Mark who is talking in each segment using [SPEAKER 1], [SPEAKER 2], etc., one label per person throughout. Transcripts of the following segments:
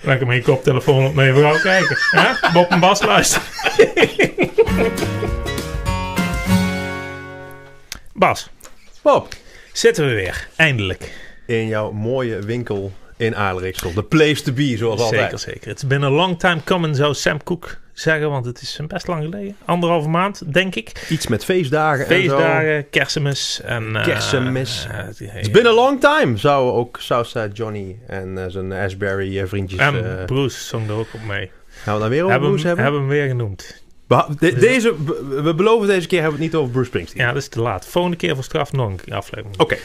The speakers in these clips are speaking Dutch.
[SPEAKER 1] Lekker met je koptelefoon op mee vrouw kijken. Hè? Bob en Bas luisteren. Bas,
[SPEAKER 2] Bob,
[SPEAKER 1] zitten we weer. Eindelijk.
[SPEAKER 2] in jouw mooie winkel in Aardrijksel. De place to be, zoals
[SPEAKER 1] Zeker,
[SPEAKER 2] altijd.
[SPEAKER 1] zeker. It's been a long time coming, zou Sam Cook zeggen. Want het is best lang geleden. Anderhalve maand, denk ik.
[SPEAKER 2] Iets met feestdagen, en zo.
[SPEAKER 1] Feestdagen, kerstmis en... eh,
[SPEAKER 2] Kerstmis.
[SPEAKER 1] eh, het-
[SPEAKER 2] It's been a long time, zou ook Southside Johnny en eh, zijn Ashbury eh, vriendjes... eh
[SPEAKER 1] en Bruce zong er ook op mee.
[SPEAKER 2] gaan we dan weer over
[SPEAKER 1] Ehm, Hebben hem,
[SPEAKER 2] Bruce hebben?
[SPEAKER 1] hebben hem weer genoemd.
[SPEAKER 2] We, de- deze, we- we beloven deze keer hebben we het niet over Bruce Springsteen.
[SPEAKER 1] Ja, dat is te laat. Volgende keer voor straf nog een aflevering.
[SPEAKER 2] Oké.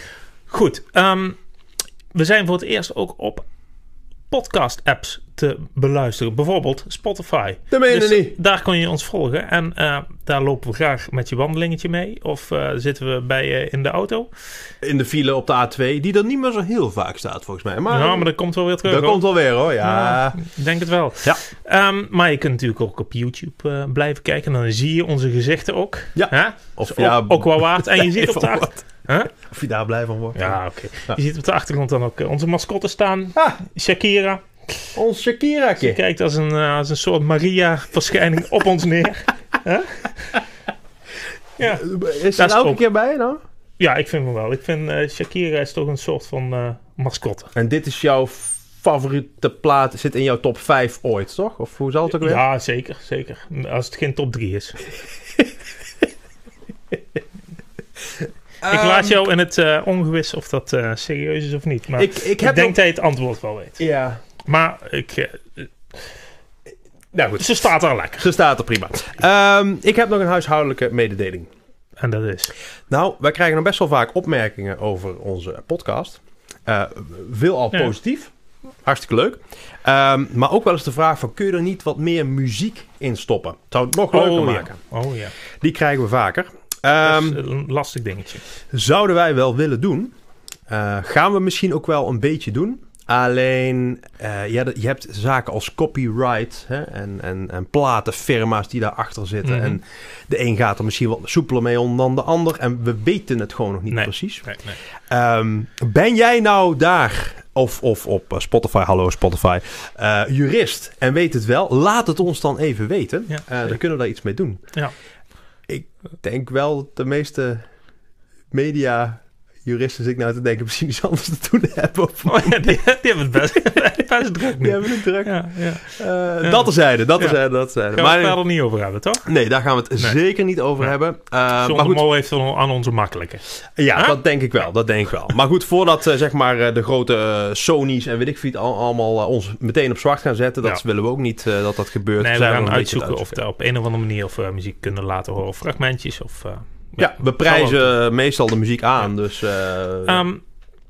[SPEAKER 1] Goed, ehm, we zijn voor het eerst ook op podcast-apps te beluisteren. Bijvoorbeeld Spotify. Dus
[SPEAKER 2] Dat meen je niet.
[SPEAKER 1] Daar kun je ons volgen en eh, daar lopen we graag met je wandelingetje mee. Of eh, zitten we bij je in de auto.
[SPEAKER 2] In de file op de A2, die er niet meer zo heel vaak staat volgens mij. Maar,
[SPEAKER 1] nou, maar dat komt wel weer terug.
[SPEAKER 2] Ah. dat
[SPEAKER 1] hoor.
[SPEAKER 2] komt wel weer hoor, ja.
[SPEAKER 1] Ik denk het wel.
[SPEAKER 2] Ja.
[SPEAKER 1] Ehm, maar je kunt natuurlijk ook op YouTube eh, blijven kijken. Dan zie je onze gezichten ook.
[SPEAKER 2] Ja.
[SPEAKER 1] Hè?
[SPEAKER 2] Of,
[SPEAKER 1] Is
[SPEAKER 2] ja,
[SPEAKER 1] ook, ook wel waard. En je ziet op
[SPEAKER 2] Even
[SPEAKER 1] de achter-
[SPEAKER 2] wat.
[SPEAKER 1] Huh?
[SPEAKER 2] Of je daar blij van wordt.
[SPEAKER 1] Ja, oké.
[SPEAKER 2] Ja.
[SPEAKER 1] Je ziet op de achtergrond dan ook eh, onze mascotten staan.
[SPEAKER 2] Ah,
[SPEAKER 1] Shakira.
[SPEAKER 2] ons Shakiraatje.
[SPEAKER 1] Kijkt als een, eh, als een soort Maria-verschijning op ons neer. Hè? ja.
[SPEAKER 2] Is
[SPEAKER 1] Dat
[SPEAKER 2] dat
[SPEAKER 1] is
[SPEAKER 2] elke
[SPEAKER 1] ook-
[SPEAKER 2] keer bij nou? je dan?
[SPEAKER 1] ja, ik vind hem wel. Ik vind eh, Shakira is toch een soort van eh, mascotte.
[SPEAKER 2] En dit is jouw favoriete plaat, zit in jouw top 5 ooit, toch? Of hoe zal het ook weer?
[SPEAKER 1] Ja, zeker, zeker. Als het geen top 3 is. ik
[SPEAKER 2] Ehm,
[SPEAKER 1] laat jou in het eh, ongewis of dat eh, serieus is of niet. Maar ik,
[SPEAKER 2] ik, ik heb
[SPEAKER 1] denk
[SPEAKER 2] nog-
[SPEAKER 1] dat je het antwoord wel weet.
[SPEAKER 2] Ja.
[SPEAKER 1] Maar ik, eh,
[SPEAKER 2] Nou goed,
[SPEAKER 1] ze staat er lekker.
[SPEAKER 2] ze staat er prima. Ehm, ik heb nog een huishoudelijke mededeling.
[SPEAKER 1] En dat is.
[SPEAKER 2] Nou, wij krijgen nog best wel vaak opmerkingen over onze podcast. Eh veel al
[SPEAKER 1] Ja.
[SPEAKER 2] positief. Hartstikke leuk. Ehm, maar ook wel eens de vraag van, kun je er niet wat meer muziek in stoppen? Zou het nog leuker
[SPEAKER 1] ja.
[SPEAKER 2] maken.
[SPEAKER 1] Oh ja.
[SPEAKER 2] Die krijgen we vaker.
[SPEAKER 1] Dat is
[SPEAKER 2] Ehm,
[SPEAKER 1] een lastig dingetje.
[SPEAKER 2] Zouden wij wel willen doen. Eh, gaan we misschien ook wel een beetje doen. Alleen, eh, ja, dat- je hebt zaken als copyright hè, en, en, en platenfirma's die daarachter zitten.
[SPEAKER 1] Mhm.
[SPEAKER 2] En de een gaat er misschien wat soepeler mee om dan de ander. En we weten het gewoon nog niet
[SPEAKER 1] Nee.
[SPEAKER 2] precies.
[SPEAKER 1] Nee, nee.
[SPEAKER 2] Ehm, ben jij nou daar, of, of op eh, Spotify, hallo Spotify, eh, jurist en weet het wel? Laat het ons dan even weten.
[SPEAKER 1] Ja,
[SPEAKER 2] Eh,
[SPEAKER 1] zeker.
[SPEAKER 2] dan kunnen we daar iets mee doen.
[SPEAKER 1] Ja.
[SPEAKER 2] Ik denk wel dat de meeste media... Juristen zit ik nou te denken, misschien iets anders te doen hebben. Of,
[SPEAKER 1] Oh ja, die, die hebben het best, best druk nu.
[SPEAKER 2] die
[SPEAKER 1] Ja,
[SPEAKER 2] hebben het druk.
[SPEAKER 1] ja,
[SPEAKER 2] Eh,
[SPEAKER 1] Ja.
[SPEAKER 2] Dat terzijde, dat
[SPEAKER 1] Ja.
[SPEAKER 2] terzijde, dat terzijde.
[SPEAKER 1] Gaan we het
[SPEAKER 2] Maar,
[SPEAKER 1] verder niet over hebben, toch?
[SPEAKER 2] nee, daar gaan we het
[SPEAKER 1] Nee.
[SPEAKER 2] zeker niet over
[SPEAKER 1] Nee.
[SPEAKER 2] hebben. Eh, maar
[SPEAKER 1] Zonder
[SPEAKER 2] goed,
[SPEAKER 1] Mol heeft dan aan onze makkelijke.
[SPEAKER 2] Ja,
[SPEAKER 1] Huh?
[SPEAKER 2] dat denk ik wel. Dat denk ik wel. Maar goed, voordat eh, zeg maar, eh, de grote eh, Sony's en weet ik veel, het al- allemaal eh, ons meteen op zwart gaan zetten, dat
[SPEAKER 1] Ja.
[SPEAKER 2] willen we ook niet eh, dat dat gebeurt.
[SPEAKER 1] Nee, we
[SPEAKER 2] Zijn
[SPEAKER 1] gaan
[SPEAKER 2] nog een beetje
[SPEAKER 1] uitzoeken
[SPEAKER 2] aan
[SPEAKER 1] of
[SPEAKER 2] het
[SPEAKER 1] we op een of andere manier of we muziek kunnen laten horen. Of fragmentjes of... eh,
[SPEAKER 2] Ja, we prijzen eh, meestal de muziek aan, dus eh,
[SPEAKER 1] Ehm,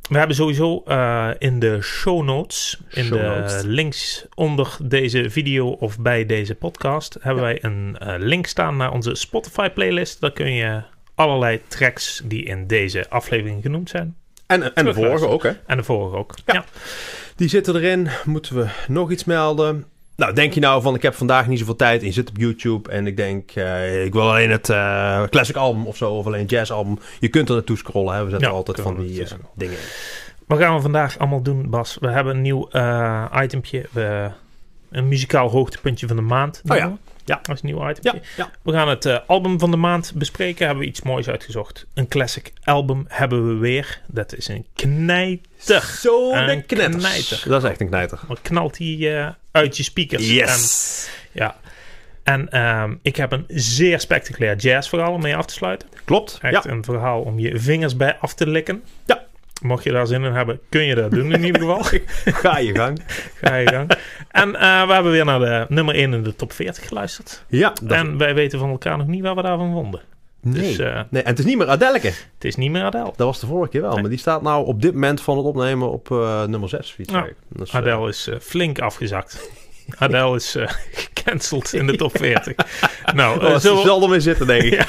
[SPEAKER 1] we hebben sowieso eh, in de show notes, in
[SPEAKER 2] Show
[SPEAKER 1] de
[SPEAKER 2] notes.
[SPEAKER 1] links onder deze video of bij deze podcast, hebben wij een eh, link staan naar onze Spotify playlist. Daar kun je allerlei tracks die in deze aflevering genoemd zijn.
[SPEAKER 2] en, en de vorige
[SPEAKER 1] terugluisteren.
[SPEAKER 2] ook, hè?
[SPEAKER 1] En de vorige ook.
[SPEAKER 2] Ja. Die zitten erin. Moeten we nog iets melden? Nou, denk je nou van, ik heb vandaag niet zoveel tijd en je zit op YouTube en ik denk, eh, ik wil alleen het eh, classic album of zo, of alleen jazz album. Je kunt er naartoe scrollen, hè? we zetten
[SPEAKER 1] Ja,
[SPEAKER 2] altijd
[SPEAKER 1] kunnen
[SPEAKER 2] van
[SPEAKER 1] we
[SPEAKER 2] die eh,
[SPEAKER 1] naartoe
[SPEAKER 2] dingen in.
[SPEAKER 1] Wat gaan we vandaag allemaal doen, Bas? We hebben een nieuw eh itempje. We, een muzikaal hoogtepuntje van de maand.
[SPEAKER 2] Oh ja.
[SPEAKER 1] noemen we.
[SPEAKER 2] Ja.
[SPEAKER 1] Dat is een nieuw itempje.
[SPEAKER 2] Ja, ja.
[SPEAKER 1] We gaan het eh, album van de maand bespreken. Hebben we iets moois uitgezocht. Een classic album hebben we weer. Dat is een knijter.
[SPEAKER 2] Zo
[SPEAKER 1] Een
[SPEAKER 2] de knetters.
[SPEAKER 1] knijter.
[SPEAKER 2] Dat is echt een knijter.
[SPEAKER 1] Wat knalt die eh, uit je speakers?
[SPEAKER 2] Yes.
[SPEAKER 1] En, ja. En ehm, ik heb een zeer spectaculair jazzverhaal om mee af te sluiten.
[SPEAKER 2] Klopt.
[SPEAKER 1] Echt een verhaal om je vingers bij af te likken.
[SPEAKER 2] Ja.
[SPEAKER 1] Mocht je daar zin in hebben, kun je dat doen in ieder geval.
[SPEAKER 2] Ja, ga je gang.
[SPEAKER 1] Ga je gang. En eh, we hebben weer naar de nummer 1 in de top 40 geluisterd.
[SPEAKER 2] Ja, dat...
[SPEAKER 1] En wij weten van elkaar nog niet waar we daarvan wonden.
[SPEAKER 2] nee.
[SPEAKER 1] Dus eh,
[SPEAKER 2] nee. En het is niet meer Adelke.
[SPEAKER 1] het is niet meer Adele.
[SPEAKER 2] Dat was de vorige keer wel. Maar die staat nou op dit moment van het opnemen op eh, nummer 6.
[SPEAKER 1] Ja.
[SPEAKER 2] Dus,
[SPEAKER 1] Adele is eh, flink afgezakt. Adele is eh, gecanceld in de top 40. nou, eh,
[SPEAKER 2] Oh, ze
[SPEAKER 1] zullen, we,
[SPEAKER 2] zal er mee zitten, denk ik.
[SPEAKER 1] Ja.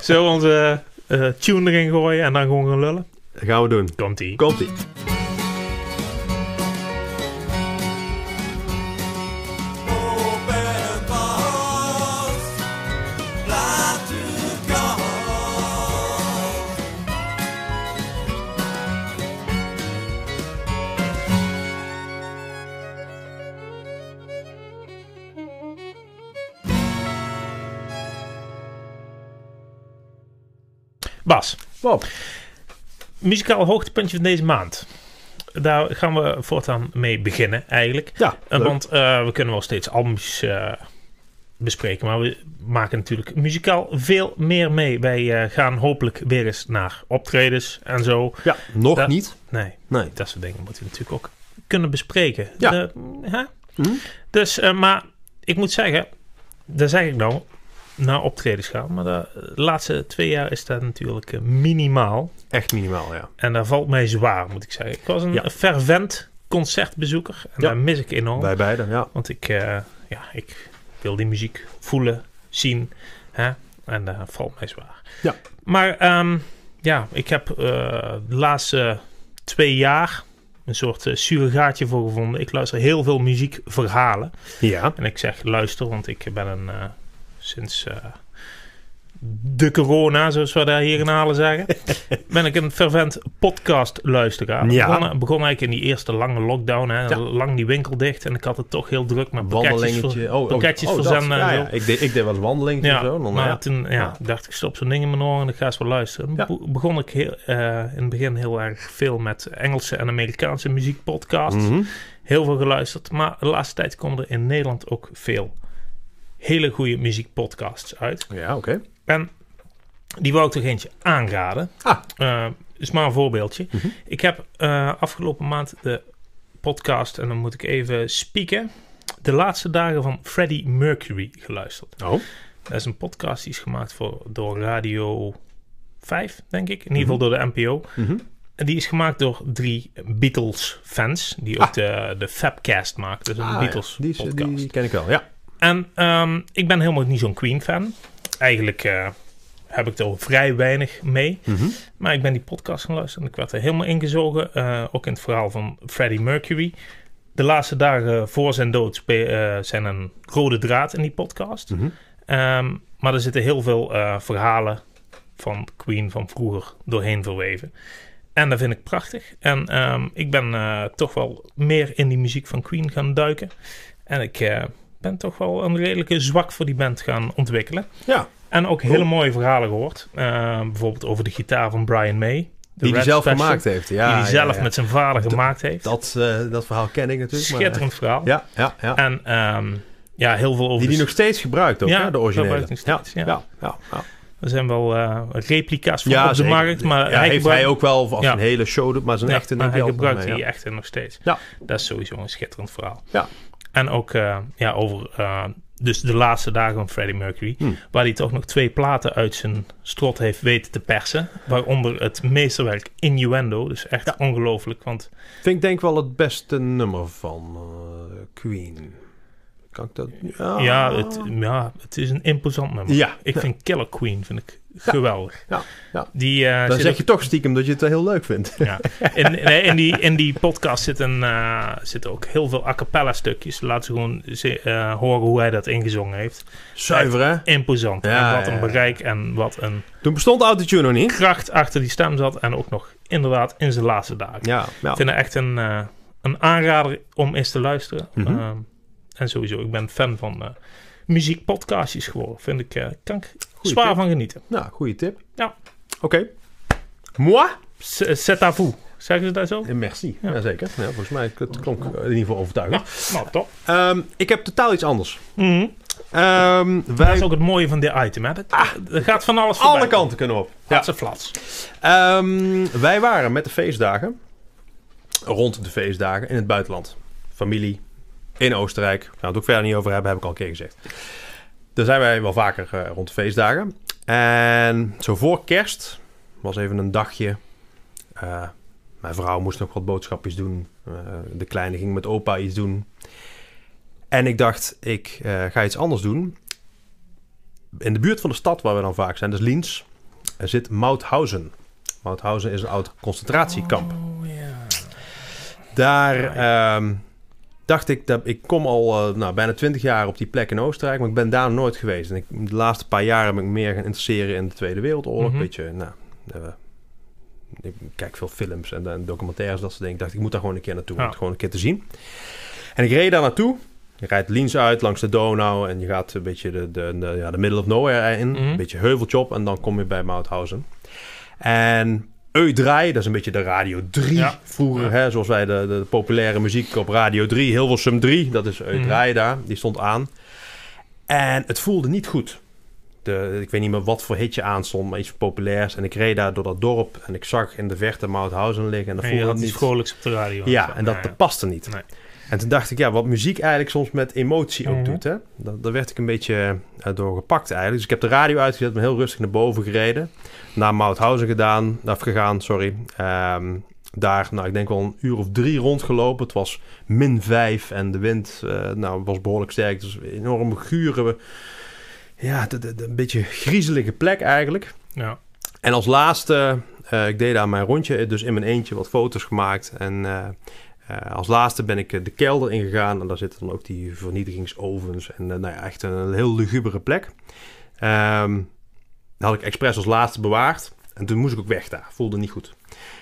[SPEAKER 1] zullen we onze eh, eh, tune erin gooien en dan gewoon gaan lullen?
[SPEAKER 2] Dat gaan we doen.
[SPEAKER 1] Komt-ie.
[SPEAKER 2] Komt-ie.
[SPEAKER 3] Open bars, laat uw kans.
[SPEAKER 1] Bas,
[SPEAKER 2] Wow.
[SPEAKER 1] muzikaal hoogtepuntje van deze maand. Daar gaan we voortaan mee beginnen eigenlijk.
[SPEAKER 2] Ja,
[SPEAKER 1] Eh,
[SPEAKER 2] leuk.
[SPEAKER 1] want eh, we kunnen wel steeds albums eh, bespreken, maar we maken natuurlijk muzikaal veel meer mee. Wij eh, gaan hopelijk weer eens naar optredens en zo.
[SPEAKER 2] ja, nog
[SPEAKER 1] Ja.
[SPEAKER 2] niet.
[SPEAKER 1] Nee,
[SPEAKER 2] Nee.
[SPEAKER 1] dat soort dingen moeten we natuurlijk ook kunnen bespreken.
[SPEAKER 2] Ja.
[SPEAKER 1] De- hè?
[SPEAKER 2] Mhm.
[SPEAKER 1] Dus, eh, maar ik moet zeggen, daar zeg ik nou, naar optredens gaan. Maar de laatste twee jaar is dat natuurlijk eh, minimaal.
[SPEAKER 2] Echt minimaal, ja.
[SPEAKER 1] En dat valt mij zwaar, moet ik zeggen. Ik was een
[SPEAKER 2] Ja.
[SPEAKER 1] fervent concertbezoeker. En
[SPEAKER 2] Ja.
[SPEAKER 1] daar mis ik enorm.
[SPEAKER 2] Bij beide, ja.
[SPEAKER 1] Want ik, eh, ja, ik wil die muziek voelen, zien. Hè? En dat valt mij zwaar.
[SPEAKER 2] Ja.
[SPEAKER 1] Maar ehm, ja, ik heb eh, de laatste twee jaar een soort eh zuur gaatje voor gevonden. Ik luister heel veel muziekverhalen.
[SPEAKER 2] Ja.
[SPEAKER 1] En ik zeg luister, want ik ben een... eh, sinds eh, de corona, zoals we daar hier in Halen zeggen... ben ik een fervent podcastluisteraar.
[SPEAKER 2] Ja.
[SPEAKER 1] Begon, begon eigenlijk in die eerste lange lockdown. Hè,
[SPEAKER 2] Ja.
[SPEAKER 1] Lang die winkel dicht. En ik had het toch heel druk met pakketjes. ver-
[SPEAKER 2] Wandelingetje. Oh, oh,
[SPEAKER 1] pakketjes
[SPEAKER 2] oh, dat.
[SPEAKER 1] verzenden en
[SPEAKER 2] Ja,
[SPEAKER 1] zo.
[SPEAKER 2] ja. Ik, deed, ik deed wel eens wandelingen en
[SPEAKER 1] eh, Ja,
[SPEAKER 2] zo. Dan,
[SPEAKER 1] maar
[SPEAKER 2] ja.
[SPEAKER 1] toen ja,
[SPEAKER 2] Ja.
[SPEAKER 1] dacht ik, stop zo'n ding in mijn oren en ik ga eens wel luisteren.
[SPEAKER 2] Ja.
[SPEAKER 1] Be- begon ik heel, eh, in het begin heel erg veel met Engelse en Amerikaanse muziekpodcasts.
[SPEAKER 2] Mhm.
[SPEAKER 1] Heel veel geluisterd. Maar de laatste tijd komen er in Nederland ook veel hele goede muziekpodcasts uit.
[SPEAKER 2] Ja, oké.
[SPEAKER 1] En die wou ik toch eentje aanraden.
[SPEAKER 2] Ah.
[SPEAKER 1] Eh, is maar een voorbeeldje.
[SPEAKER 2] Mhm.
[SPEAKER 1] Ik heb eh, afgelopen maand de podcast, en dan moet ik even spieken, de laatste dagen van Freddie Mercury geluisterd.
[SPEAKER 2] Oh.
[SPEAKER 1] Dat is een podcast die is gemaakt voor, door Radio 5, denk ik. In ieder geval door de NPO.
[SPEAKER 2] Mhm.
[SPEAKER 1] En die is gemaakt door drie Beatles-fans, die ook
[SPEAKER 2] Ah.
[SPEAKER 1] de, de Fabcast maakt. Dus een
[SPEAKER 2] Ah, ja. Die, is-
[SPEAKER 1] Beatles-podcast.
[SPEAKER 2] die ken ik wel, ja.
[SPEAKER 1] En ehm, ik ben helemaal niet zo'n Queen-fan. Eigenlijk eh, heb ik er vrij weinig mee.
[SPEAKER 2] Mhm.
[SPEAKER 1] Maar ik ben die podcast gaan luisteren en ik werd er helemaal ingezogen. eh, ook in het verhaal van Freddie Mercury. De laatste dagen voor zijn dood spe- eh, zijn een rode draad in die podcast.
[SPEAKER 2] Mhm.
[SPEAKER 1] Ehm, maar er zitten heel veel eh, verhalen van Queen van vroeger doorheen verweven. En dat vind ik prachtig. En ehm, ik ben eh, toch wel meer in die muziek van Queen gaan duiken. En ik eh, ben toch wel een redelijke zwak voor die band gaan ontwikkelen.
[SPEAKER 2] Ja.
[SPEAKER 1] En ook
[SPEAKER 2] Oh.
[SPEAKER 1] hele mooie verhalen gehoord. Eh, bijvoorbeeld over de gitaar van Brian May. de
[SPEAKER 2] Die hij
[SPEAKER 1] Red
[SPEAKER 2] zelf
[SPEAKER 1] Special,
[SPEAKER 2] gemaakt heeft. Ja,
[SPEAKER 1] die hij
[SPEAKER 2] ja,
[SPEAKER 1] zelf
[SPEAKER 2] ja.
[SPEAKER 1] met zijn vader gemaakt heeft.
[SPEAKER 2] Dat, eh, dat verhaal ken ik natuurlijk. maar-
[SPEAKER 1] Schitterend verhaal.
[SPEAKER 2] Ja, ja, ja.
[SPEAKER 1] En ehm, ja, heel veel over
[SPEAKER 2] Die die
[SPEAKER 1] de
[SPEAKER 2] nog steeds gebruikt ook,
[SPEAKER 1] Ja,
[SPEAKER 2] hè, de originele.
[SPEAKER 1] gebruikt nog steeds, ja.
[SPEAKER 2] ja, ja, ja.
[SPEAKER 1] Er zijn wel eh, replica's van
[SPEAKER 2] Ja,
[SPEAKER 1] op de
[SPEAKER 2] zeker.
[SPEAKER 1] markt, maar
[SPEAKER 2] Ja,
[SPEAKER 1] hij
[SPEAKER 2] heeft
[SPEAKER 1] gebruikt-
[SPEAKER 2] hij ook wel als
[SPEAKER 1] Ja.
[SPEAKER 2] een hele show doet, maar zijn
[SPEAKER 1] Ja,
[SPEAKER 2] echte
[SPEAKER 1] maar
[SPEAKER 2] neemt
[SPEAKER 1] hij
[SPEAKER 2] hij altijd
[SPEAKER 1] gebruikt
[SPEAKER 2] mee,
[SPEAKER 1] die
[SPEAKER 2] ja.
[SPEAKER 1] echte nog steeds.
[SPEAKER 2] Ja.
[SPEAKER 1] Dat is sowieso een schitterend verhaal.
[SPEAKER 2] Ja.
[SPEAKER 1] En ook eh, ja, over eh, dus de laatste dagen van Freddie Mercury,
[SPEAKER 2] Hmm.
[SPEAKER 1] waar hij toch nog twee platen uit zijn strot heeft weten te persen, waaronder het meesterwerk Innuendo, dus echt ongelooflijk, want
[SPEAKER 2] Vind ik denk wel het beste nummer van eh, Queen. Kan ik dat? Ja.
[SPEAKER 1] ja, het, ja, het is een imposant nummer.
[SPEAKER 2] Ah. Ja.
[SPEAKER 1] Ik vind Killer Queen vind ik geweldig.
[SPEAKER 2] Ja, ja.
[SPEAKER 1] Die, eh,
[SPEAKER 2] Dan
[SPEAKER 1] zit
[SPEAKER 2] zeg je toch stiekem dat je het heel leuk vindt.
[SPEAKER 1] Ja. In, nee, in, die, in die podcast zitten, eh, zitten ook heel veel a cappella stukjes. Laat ze gewoon ze- eh, horen hoe hij dat ingezongen heeft.
[SPEAKER 2] Zuiver, hè?
[SPEAKER 1] Imposant.
[SPEAKER 2] Ja,
[SPEAKER 1] en wat
[SPEAKER 2] ja,
[SPEAKER 1] een
[SPEAKER 2] ja.
[SPEAKER 1] bereik en wat een
[SPEAKER 2] Toen bestond Autotune nog niet.
[SPEAKER 1] kracht achter die stem zat. En ook nog inderdaad in zijn laatste dagen.
[SPEAKER 2] Ja, ja.
[SPEAKER 1] Ik vind het echt een, eh, een aanrader om eens te luisteren.
[SPEAKER 2] Mhm.
[SPEAKER 1] Ehm, en sowieso, ik ben fan van eh muziekpodcastjes geworden. Vind ik, eh kan ik
[SPEAKER 2] Goeie
[SPEAKER 1] zwaar
[SPEAKER 2] tip.
[SPEAKER 1] van genieten.
[SPEAKER 2] Nou, goede tip.
[SPEAKER 1] Ja. eh,
[SPEAKER 2] Oké. Moi?
[SPEAKER 1] S- C'est à vous. Zeggen ze dat zo?
[SPEAKER 2] Eh, Merci.
[SPEAKER 1] Ja.
[SPEAKER 2] Jazeker. Ja, volgens mij het klonk in ieder geval
[SPEAKER 1] Ja,
[SPEAKER 2] overtuigend.
[SPEAKER 1] nou top.
[SPEAKER 2] Ehm, ik heb totaal iets anders.
[SPEAKER 1] Mhm.
[SPEAKER 2] Ehm,
[SPEAKER 1] Dat is
[SPEAKER 2] wij
[SPEAKER 1] ook het mooie van dit item. Hè? Dat, er gaat van alles voorbij.
[SPEAKER 2] Ah. alle kanten kunnen op.
[SPEAKER 1] Ja. ze flats.
[SPEAKER 2] Ehm, wij waren met de feestdagen, rond de feestdagen, in het buitenland. Familie, in Oostenrijk. Daar gaan we het ook verder niet over hebben, heb ik al een keer gezegd. Daar zijn wij wel vaker eh, rond de feestdagen. En zo voor kerst was even een dagje. Eh, mijn vrouw moest nog wat boodschapjes doen. Eh, de kleine ging met opa iets doen. En ik dacht, ik eh, ga iets anders doen. In de buurt van de stad waar we dan vaak zijn, dus Liens, er zit Mauthausen. Mauthausen is een oud concentratiekamp.
[SPEAKER 1] Oh,
[SPEAKER 2] Daar
[SPEAKER 1] Ah,
[SPEAKER 2] ehm, dacht ik, dat, ik kom al eh, nou, bijna twintig jaar op die plek in Oostenrijk, maar ik ben daar nog nooit geweest. En ik, de laatste paar jaar heb ik me meer gaan interesseren in de Tweede Wereldoorlog.
[SPEAKER 1] Mhm.
[SPEAKER 2] Beetje, nou, eh, ik kijk veel films en, en documentaires, dat soort dingen. Ik dacht, ik moet daar gewoon een keer naartoe,
[SPEAKER 1] Ja.
[SPEAKER 2] om het gewoon een keer te zien. En ik reed daar naartoe. Je rijdt Liens uit langs de Donau en je gaat een beetje de, de, de- ja, de middle of nowhere in.
[SPEAKER 1] Mhm.
[SPEAKER 2] Een beetje heuveltje op en dan kom je bij Mauthausen. En Eudraai, dat is een beetje de Radio 3
[SPEAKER 1] Ja.
[SPEAKER 2] vroeger, hè, zoals wij de, de populaire muziek op Radio 3, Hilversum 3, dat is
[SPEAKER 1] Mhm.
[SPEAKER 2] Eudraai daar, die stond aan. En het voelde niet goed. De, ik weet niet meer wat voor hitje aanstond, maar iets populairs. En ik reed daar door dat dorp en ik zag in de verte Mauthausen liggen en dat
[SPEAKER 1] En je
[SPEAKER 2] voelde
[SPEAKER 1] had
[SPEAKER 2] dat
[SPEAKER 1] die
[SPEAKER 2] niet.
[SPEAKER 1] vrolijks op de radio.
[SPEAKER 2] Ja, en dat,
[SPEAKER 1] Nou
[SPEAKER 2] dat paste niet.
[SPEAKER 1] Nee.
[SPEAKER 2] En toen dacht ik, ja, wat muziek eigenlijk soms met emotie ook
[SPEAKER 1] Mhm.
[SPEAKER 2] doet, hè. Dat, daar werd ik een beetje eh, door gepakt eigenlijk. Dus ik heb de radio uitgezet, ben heel rustig naar boven gereden. Naar Mauthausen gedaan, of gegaan, sorry. Ehm, daar, nou, ik denk wel een uur of drie rondgelopen. Het was min vijf en de wind, eh, nou, was behoorlijk sterk. Dus een enorm gure, ja, de- de- de- een beetje griezelige plek eigenlijk.
[SPEAKER 1] ja.
[SPEAKER 2] En als laatste, eh, ik deed daar mijn rondje, dus in mijn eentje wat foto's gemaakt. En eh, eh, als laatste ben ik eh, de kelder ingegaan. En daar zitten dan ook die vernietigingsovens. En eh, nou ja, echt een heel lugubere plek. Ehm, dat had ik expres als laatste bewaard. En toen moest ik ook weg daar. Voelde niet goed.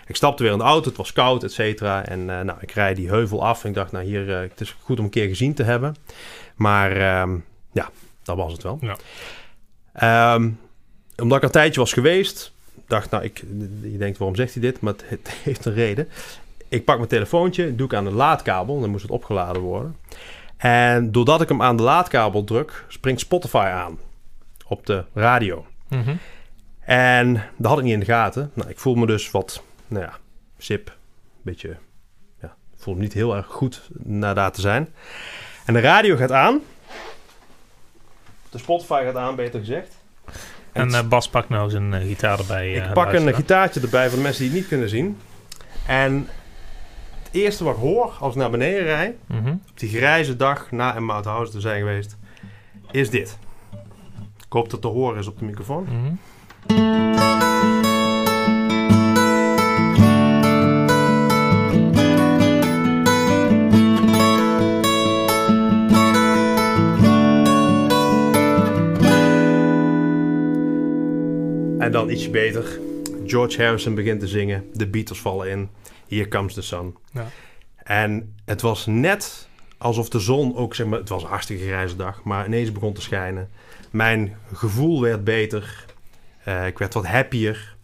[SPEAKER 2] Ik stapte weer in de auto, het was koud, et cetera. En eh, nou, ik rijd die heuvel af. En ik dacht, nou hier, eh, het is goed om een keer gezien te hebben. Maar ehm, ja, dat was het wel.
[SPEAKER 1] Ja.
[SPEAKER 2] Ehm, omdat ik al een tijdje was geweest, dacht nou, ik, je denkt waarom zegt hij dit? Maar het, het heeft een reden. Ik pak mijn telefoontje, doe ik aan de laadkabel, dan moest het opgeladen worden. En doordat ik hem aan de laadkabel druk, springt Spotify aan op de radio.
[SPEAKER 1] Mhm.
[SPEAKER 2] En dat had ik niet in de gaten. Nou, ik voel me dus wat, nou ja, sip. Een beetje, ja, ik voel me niet heel erg goed na daar te zijn. En de radio gaat aan. De Spotify gaat aan, beter gezegd. En
[SPEAKER 1] En
[SPEAKER 2] het-
[SPEAKER 1] eh, Bas pakt nou zijn eh, gitaar erbij. eh,
[SPEAKER 2] ik pak een
[SPEAKER 1] luisteraar.
[SPEAKER 2] gitaartje erbij voor de mensen die het niet kunnen zien. En het eerste wat ik hoor als ik naar beneden rijd,
[SPEAKER 1] Mhm.
[SPEAKER 2] op die grijze dag na in Mauthausen te zijn geweest, is dit. Ik hoop dat te horen is op de microfoon.
[SPEAKER 1] Mhm.
[SPEAKER 2] En dan ietsje beter. George Harrison begint te zingen. De Beatles vallen in. Here comes the sun.
[SPEAKER 1] Ja.
[SPEAKER 2] En het was net alsof de zon ook, zeg maar, het was een hartstikke grijze dag, maar ineens begon te schijnen. Mijn gevoel werd beter. Eh, ik werd wat happier.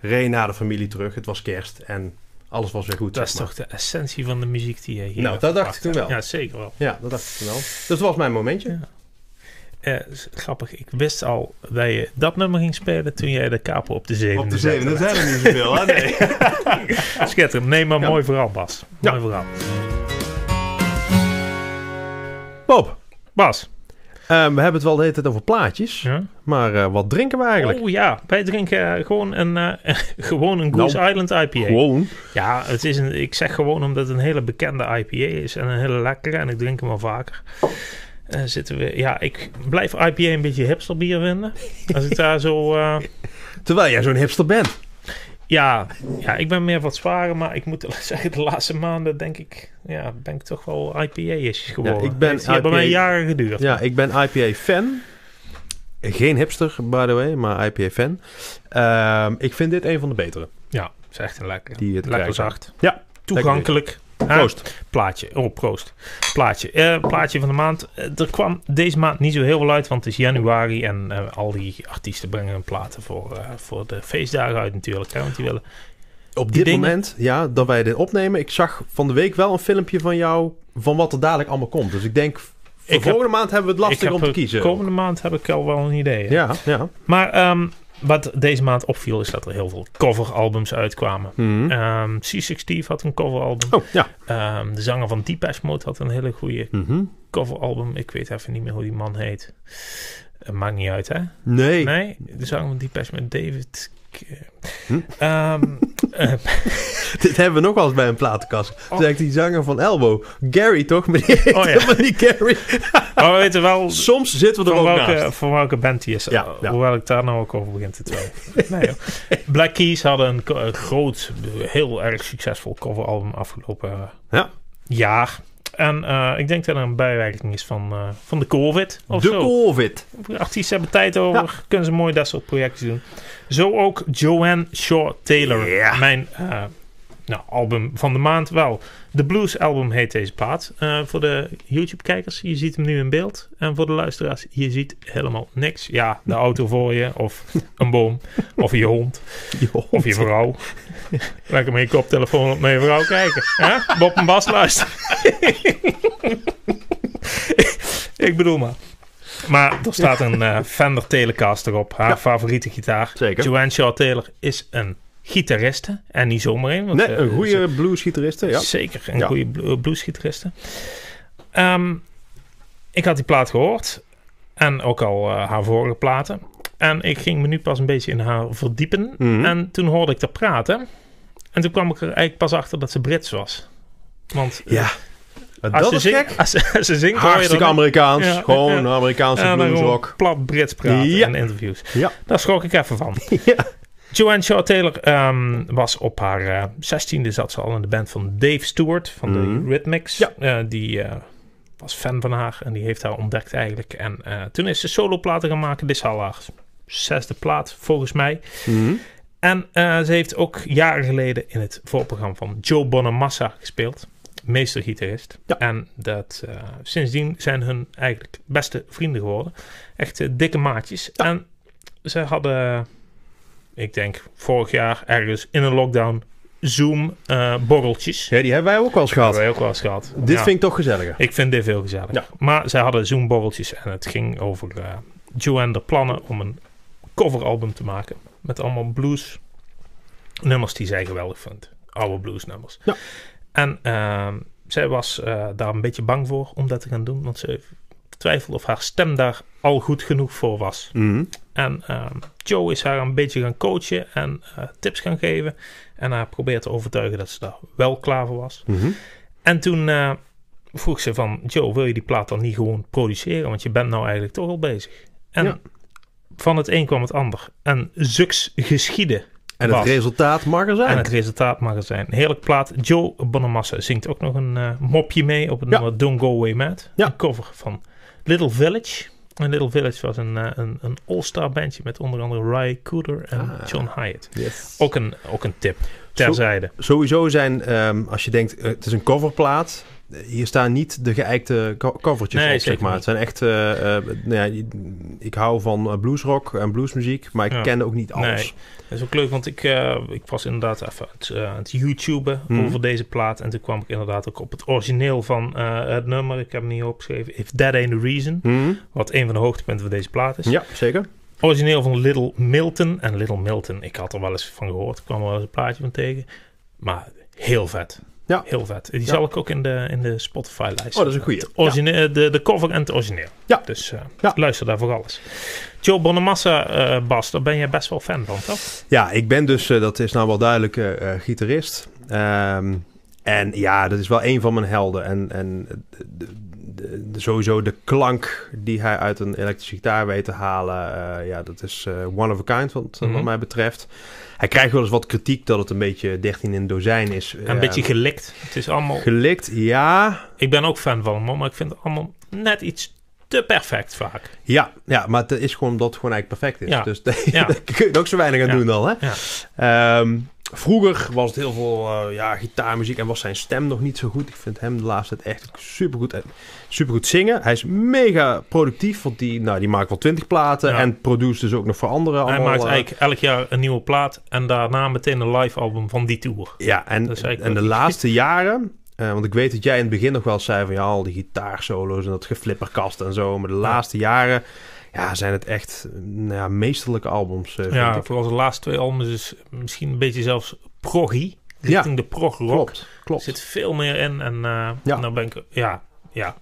[SPEAKER 2] Reed naar de familie terug. Het was kerst en alles was weer goed.
[SPEAKER 1] Dat is
[SPEAKER 2] zeg maar.
[SPEAKER 1] toch de essentie van de muziek die je hier
[SPEAKER 2] Nou,
[SPEAKER 1] hebt
[SPEAKER 2] dat dacht
[SPEAKER 1] gepakt,
[SPEAKER 2] ik toen
[SPEAKER 1] hè?
[SPEAKER 2] wel.
[SPEAKER 1] Ja, zeker wel.
[SPEAKER 2] Ja, dat dacht ik wel. Dus dat was mijn momentje.
[SPEAKER 1] Eh, is grappig, ik wist al dat je dat nummer ging spelen toen jij de kapo op de zevende zette.
[SPEAKER 2] zijn er niet zoveel, hè? Nee.
[SPEAKER 1] Schitterend. Nee, maar
[SPEAKER 2] Ja.
[SPEAKER 1] mooi verhaal, Bas.
[SPEAKER 2] Ja.
[SPEAKER 1] Mooi verhaal.
[SPEAKER 2] Bob,
[SPEAKER 1] Bas.
[SPEAKER 2] eh, we hebben het wel de hele tijd over plaatjes.
[SPEAKER 1] Ja?
[SPEAKER 2] Maar eh, wat drinken we eigenlijk?
[SPEAKER 1] Oh ja, wij drinken eh, gewoon een, eh, gewoon een Goose
[SPEAKER 2] Nou.
[SPEAKER 1] Island IPA.
[SPEAKER 2] Gewoon.
[SPEAKER 1] Ja, het is een, ik zeg gewoon omdat het een hele bekende IPA is en een hele lekkere en ik drink hem al vaker. Eh, zitten we, ja, ik blijf IPA een beetje hipsterbier vinden. Als ik daar zo... eh,
[SPEAKER 2] Terwijl jij zo'n hipster bent.
[SPEAKER 1] ja, ja, ik ben meer wat zwaarder, maar ik moet zeggen, de laatste maanden denk ik... Ja, ben ik toch wel IPA-ish geworden.
[SPEAKER 2] ik ben
[SPEAKER 1] Het heeft bij
[SPEAKER 2] IPA
[SPEAKER 1] mij jaren geduurd.
[SPEAKER 2] Ja, ik ben IPA-fan. Geen hipster, by the way, maar IPA-fan. Ehm, ik vind dit een van de betere.
[SPEAKER 1] Ja, is echt een lekker.
[SPEAKER 2] Die het
[SPEAKER 1] lekker
[SPEAKER 2] krijgt.
[SPEAKER 1] zacht.
[SPEAKER 2] Ja,
[SPEAKER 1] Toegankelijk. Ja,
[SPEAKER 2] Proost.
[SPEAKER 1] plaatje. Oh, proost. Plaatje. Eh, plaatje van de maand. Eh, er kwam deze maand niet zo heel veel uit, want het is januari en eh, al die artiesten brengen hun platen voor, eh, voor de feestdagen uit natuurlijk. Hè, want die willen...
[SPEAKER 2] Op
[SPEAKER 1] Die
[SPEAKER 2] dit
[SPEAKER 1] dingen-
[SPEAKER 2] moment, ja, dat wij dit opnemen. Ik zag van de week wel een filmpje van jou van wat er dadelijk allemaal komt. Dus ik denk, voor
[SPEAKER 1] heb-
[SPEAKER 2] volgende maand hebben we het
[SPEAKER 1] Ik
[SPEAKER 2] lastig
[SPEAKER 1] heb,
[SPEAKER 2] om te
[SPEAKER 1] eh,
[SPEAKER 2] kiezen.
[SPEAKER 1] Komende maand heb ik al wel een idee. hè.
[SPEAKER 2] Ja, ja.
[SPEAKER 1] Maar ehm, wat deze maand opviel is dat er heel veel coveralbums uitkwamen.
[SPEAKER 2] Mhm.
[SPEAKER 1] Ehm C60 had een coveralbum.
[SPEAKER 2] Oh, ja.
[SPEAKER 1] Ehm, de zanger van Depeche Mode had een hele goede
[SPEAKER 2] Mhm.
[SPEAKER 1] coveralbum. Ik weet even niet meer hoe die man heet. Eh, maakt niet uit, hè?
[SPEAKER 2] Nee.
[SPEAKER 1] Nee, de zanger van Depeche met David... K-
[SPEAKER 2] Hm?
[SPEAKER 1] Ehm, eh,
[SPEAKER 2] Dit hebben we nog wel eens bij een platenkast. Toen
[SPEAKER 1] Oh.
[SPEAKER 2] zei ik die zanger van Elbow. Gary, toch? Maar die heet
[SPEAKER 1] Oh, ja.
[SPEAKER 2] helemaal niet Gary.
[SPEAKER 1] maar we weten wel
[SPEAKER 2] Soms zitten we er
[SPEAKER 1] van
[SPEAKER 2] ook
[SPEAKER 1] welke,
[SPEAKER 2] naast.
[SPEAKER 1] van welke band die is.
[SPEAKER 2] Ja,
[SPEAKER 1] eh,
[SPEAKER 2] ja.
[SPEAKER 1] Hoewel ik daar nou ook over begin te twijfelen. nee, joh. Black Keys hadden een, co- een groot, heel erg succesvol coveralbum afgelopen eh,
[SPEAKER 2] Ja.
[SPEAKER 1] jaar. En eh, ik denk dat er een bijwerking is van, eh, van de COVID of
[SPEAKER 2] De
[SPEAKER 1] zo.
[SPEAKER 2] COVID.
[SPEAKER 1] Artiesten hebben tijd over. Kunnen ze mooi dat soort projecten doen. Zo ook Joanne Shaw Taylor.
[SPEAKER 2] Ja.
[SPEAKER 1] Mijn eh, nou, album van de maand wel. De Blues album heet deze plaat. Eh, voor de YouTube-kijkers, je ziet hem nu in beeld. En voor de luisteraars, je ziet helemaal niks. Ja, de auto voor je, of een boom, of je hond, of je vrouw. Lekker met je koptelefoon op naar je vrouw kijken. hè? Bob en Bas luisteren. Ik bedoel maar. Maar er staat een eh, Fender Telecaster op, haar favoriete gitaar.
[SPEAKER 2] Zeker.
[SPEAKER 1] Joanne Shaw Taylor is een gitariste. En niet zomaar een. want,
[SPEAKER 2] Nee,
[SPEAKER 1] eh,
[SPEAKER 2] een
[SPEAKER 1] ze-
[SPEAKER 2] goede bluesgitariste, ja.
[SPEAKER 1] Zeker, een
[SPEAKER 2] Ja.
[SPEAKER 1] goede blu- bluesgitariste. Ehm, ik had die plaat gehoord. En ook al eh, haar vorige platen. En ik ging me nu pas een beetje in haar verdiepen.
[SPEAKER 2] Mhm.
[SPEAKER 1] En toen hoorde ik haar praten. En toen kwam ik er eigenlijk pas achter dat ze Brits was. Want eh,
[SPEAKER 2] Ja. Ah,
[SPEAKER 1] als,
[SPEAKER 2] Dat
[SPEAKER 1] ze
[SPEAKER 2] is
[SPEAKER 1] zingt,
[SPEAKER 2] gek.
[SPEAKER 1] als, ze- als ze zingt, hoor je
[SPEAKER 2] Hartstikke
[SPEAKER 1] dan-
[SPEAKER 2] Amerikaans.
[SPEAKER 1] Ja,
[SPEAKER 2] Gewoon
[SPEAKER 1] ja.
[SPEAKER 2] Amerikaanse
[SPEAKER 1] en dan gewoon
[SPEAKER 2] bluesrock.
[SPEAKER 1] plat Brits praten
[SPEAKER 2] Ja.
[SPEAKER 1] in interviews.
[SPEAKER 2] Ja.
[SPEAKER 1] Daar schrok ik even van. Joanne Shaw Taylor ehm, was op haar eh, 16e zat ze al in de band van Dave Stewart van
[SPEAKER 2] Mhm.
[SPEAKER 1] de Rhythmics.
[SPEAKER 2] Ja.
[SPEAKER 1] Eh, die eh, was fan van haar en die heeft haar ontdekt eigenlijk. En eh, toen is ze soloplaten gaan maken. Dit is al haar zesde plaat volgens mij.
[SPEAKER 2] Mhm.
[SPEAKER 1] En eh, ze heeft ook jaren geleden in het voorprogramma van Joe Bonamassa gespeeld. Meestergitarist.
[SPEAKER 2] Ja.
[SPEAKER 1] En dat, eh, sindsdien zijn hun eigenlijk beste vrienden geworden. Echt eh, dikke maatjes. En ze hadden, ik denk vorig jaar ergens in een lockdown, eh, Zoom-borreltjes.
[SPEAKER 2] Ja, die hebben wij ook wel eens
[SPEAKER 1] dat
[SPEAKER 2] gehad.
[SPEAKER 1] hebben we ook wel eens gehad.
[SPEAKER 2] Dit
[SPEAKER 1] Ja.
[SPEAKER 2] vind ik toch gezelliger.
[SPEAKER 1] Ik vind dit veel gezellig.
[SPEAKER 2] Ja.
[SPEAKER 1] Maar zij hadden Zoom-borreltjes en het ging over eh, Joanne de plannen om een coveralbum te maken. Met allemaal blues nummers die zij geweldig vindt. Oude bluesnummers.
[SPEAKER 2] Ja.
[SPEAKER 1] En ehm, zij was eh, daar een beetje bang voor om dat te gaan doen. Want ze twijfelde of haar stem daar al goed genoeg voor was.
[SPEAKER 2] Mhm.
[SPEAKER 1] En ehm, Joe is haar een beetje gaan coachen en eh, tips gaan geven. En haar probeert te overtuigen dat ze daar wel klaar voor was.
[SPEAKER 2] Mhm.
[SPEAKER 1] En toen eh, vroeg ze van... Joe, wil je die plaat dan niet gewoon produceren? Want je bent nou eigenlijk toch al bezig. En
[SPEAKER 2] Ja.
[SPEAKER 1] van het een kwam het ander. En zuks geschieden.
[SPEAKER 2] En het
[SPEAKER 1] Bas.
[SPEAKER 2] resultaat mag er
[SPEAKER 1] En
[SPEAKER 2] zijn.
[SPEAKER 1] het resultaat mag er zijn. Heerlijk plaat. Joe Bonamassa zingt ook nog een eh, mopje mee op het
[SPEAKER 2] Ja.
[SPEAKER 1] nummer Don't Go Away Mad.
[SPEAKER 2] Ja.
[SPEAKER 1] Een cover van Little Village. En Little Village was een, eh, een, een all-star bandje met onder andere Ry Cooder en
[SPEAKER 2] Ah.
[SPEAKER 1] John Hyatt.
[SPEAKER 2] Yes.
[SPEAKER 1] Ook een, ook een tip. Terzijde.
[SPEAKER 2] Sowieso zijn, ehm, als je denkt, eh, het is een coverplaat. eh, Hier staan niet de geëikte co- covertjes
[SPEAKER 1] Nee,
[SPEAKER 2] op, zeg
[SPEAKER 1] zeker
[SPEAKER 2] maar.
[SPEAKER 1] niet.
[SPEAKER 2] Het zijn echt... eh, eh, nou ja, je- ik hou van eh, bluesrock en bluesmuziek, maar ik
[SPEAKER 1] Ja.
[SPEAKER 2] ken ook niet alles.
[SPEAKER 1] Dat is ook leuk, want ik, eh, ik was inderdaad even aan het, eh, aan het YouTuben
[SPEAKER 2] Hmm.
[SPEAKER 1] over deze plaat. En toen kwam ik inderdaad ook op het origineel van eh, het nummer. Ik heb hem niet opgeschreven. If That Ain't The Reason.
[SPEAKER 2] Mhm.
[SPEAKER 1] Wat een van de hoogtepunten van deze plaat is.
[SPEAKER 2] Ja, zeker.
[SPEAKER 1] Oh, Origineel van Little Milton. En Little Milton, ik had er wel eens van gehoord. Ik kwam er wel eens een plaatje van tegen. Maar heel vet.
[SPEAKER 2] Ja.
[SPEAKER 1] Heel vet. Die
[SPEAKER 2] Ja.
[SPEAKER 1] zal ik ook in de, in de Spotify-lijst
[SPEAKER 2] Oh, dat is een goeie.
[SPEAKER 1] zetten. Het origineel- eh, de, de cover en het origineel.
[SPEAKER 2] Ja.
[SPEAKER 1] Dus eh,
[SPEAKER 2] Ja.
[SPEAKER 1] luister daar voor alles. Joe Bonamassa, eh, Bas, daar ben jij best wel fan van, toch?
[SPEAKER 2] Ja, ik ben dus, eh, dat is nou wel duidelijk, eh, eh, gitarist. Ehm, en ja, dat is wel een van mijn helden. En, en de- de- de- de- sowieso de klank die hij uit een elektrische gitaar weet te halen. eh, ja, dat is eh, one of a kind, wat,
[SPEAKER 1] Mhm.
[SPEAKER 2] wat mij betreft. Hij krijgt wel eens wat kritiek dat het een beetje 13 in een dozijn is. eh,
[SPEAKER 1] En een beetje gelikt. Het is allemaal...
[SPEAKER 2] gelikt. Ja,
[SPEAKER 1] Ik ben ook fan van hem, hoor, maar ik vind het allemaal net iets te perfect vaak.
[SPEAKER 2] Ja, ja, maar het is gewoon dat het gewoon eigenlijk perfect is.
[SPEAKER 1] Ja.
[SPEAKER 2] Dus
[SPEAKER 1] Ja.
[SPEAKER 2] daar kun je er ook zo weinig aan
[SPEAKER 1] Ja.
[SPEAKER 2] doen dan. Hè? Ehm, vroeger was het heel veel eh, ja, gitaarmuziek en was zijn stem nog niet zo goed. Ik vind hem de laatste tijd echt supergoed, eh, supergoed zingen. Hij is mega productief, want die, nou, die maakt wel twintig platen
[SPEAKER 1] Ja.
[SPEAKER 2] en produce dus ook nog voor anderen.
[SPEAKER 1] Hij
[SPEAKER 2] allemaal,
[SPEAKER 1] maakt
[SPEAKER 2] eh,
[SPEAKER 1] eigenlijk elk jaar een nieuwe plaat en daarna meteen een live album van die tour.
[SPEAKER 2] Ja, en,
[SPEAKER 1] Dat is eigenlijk
[SPEAKER 2] en de
[SPEAKER 1] wel-
[SPEAKER 2] laatste jaren... eh, want ik weet dat jij in het begin nog wel zei van... ja, al die gitaarsolo's en dat geflipperkast en zo. Maar de laatste jaren ja, zijn het echt eh, nou ja, meesterlijke albums, eh, vind
[SPEAKER 1] Ja,
[SPEAKER 2] ik.
[SPEAKER 1] vooral zijn laatste twee albums is misschien een beetje zelfs proggy.
[SPEAKER 2] Ja,
[SPEAKER 1] Richting de prog-rock.
[SPEAKER 2] Klopt,
[SPEAKER 1] Er
[SPEAKER 2] klopt.
[SPEAKER 1] zit veel meer in en eh
[SPEAKER 2] Ja.
[SPEAKER 1] nou ben ik ja, ja,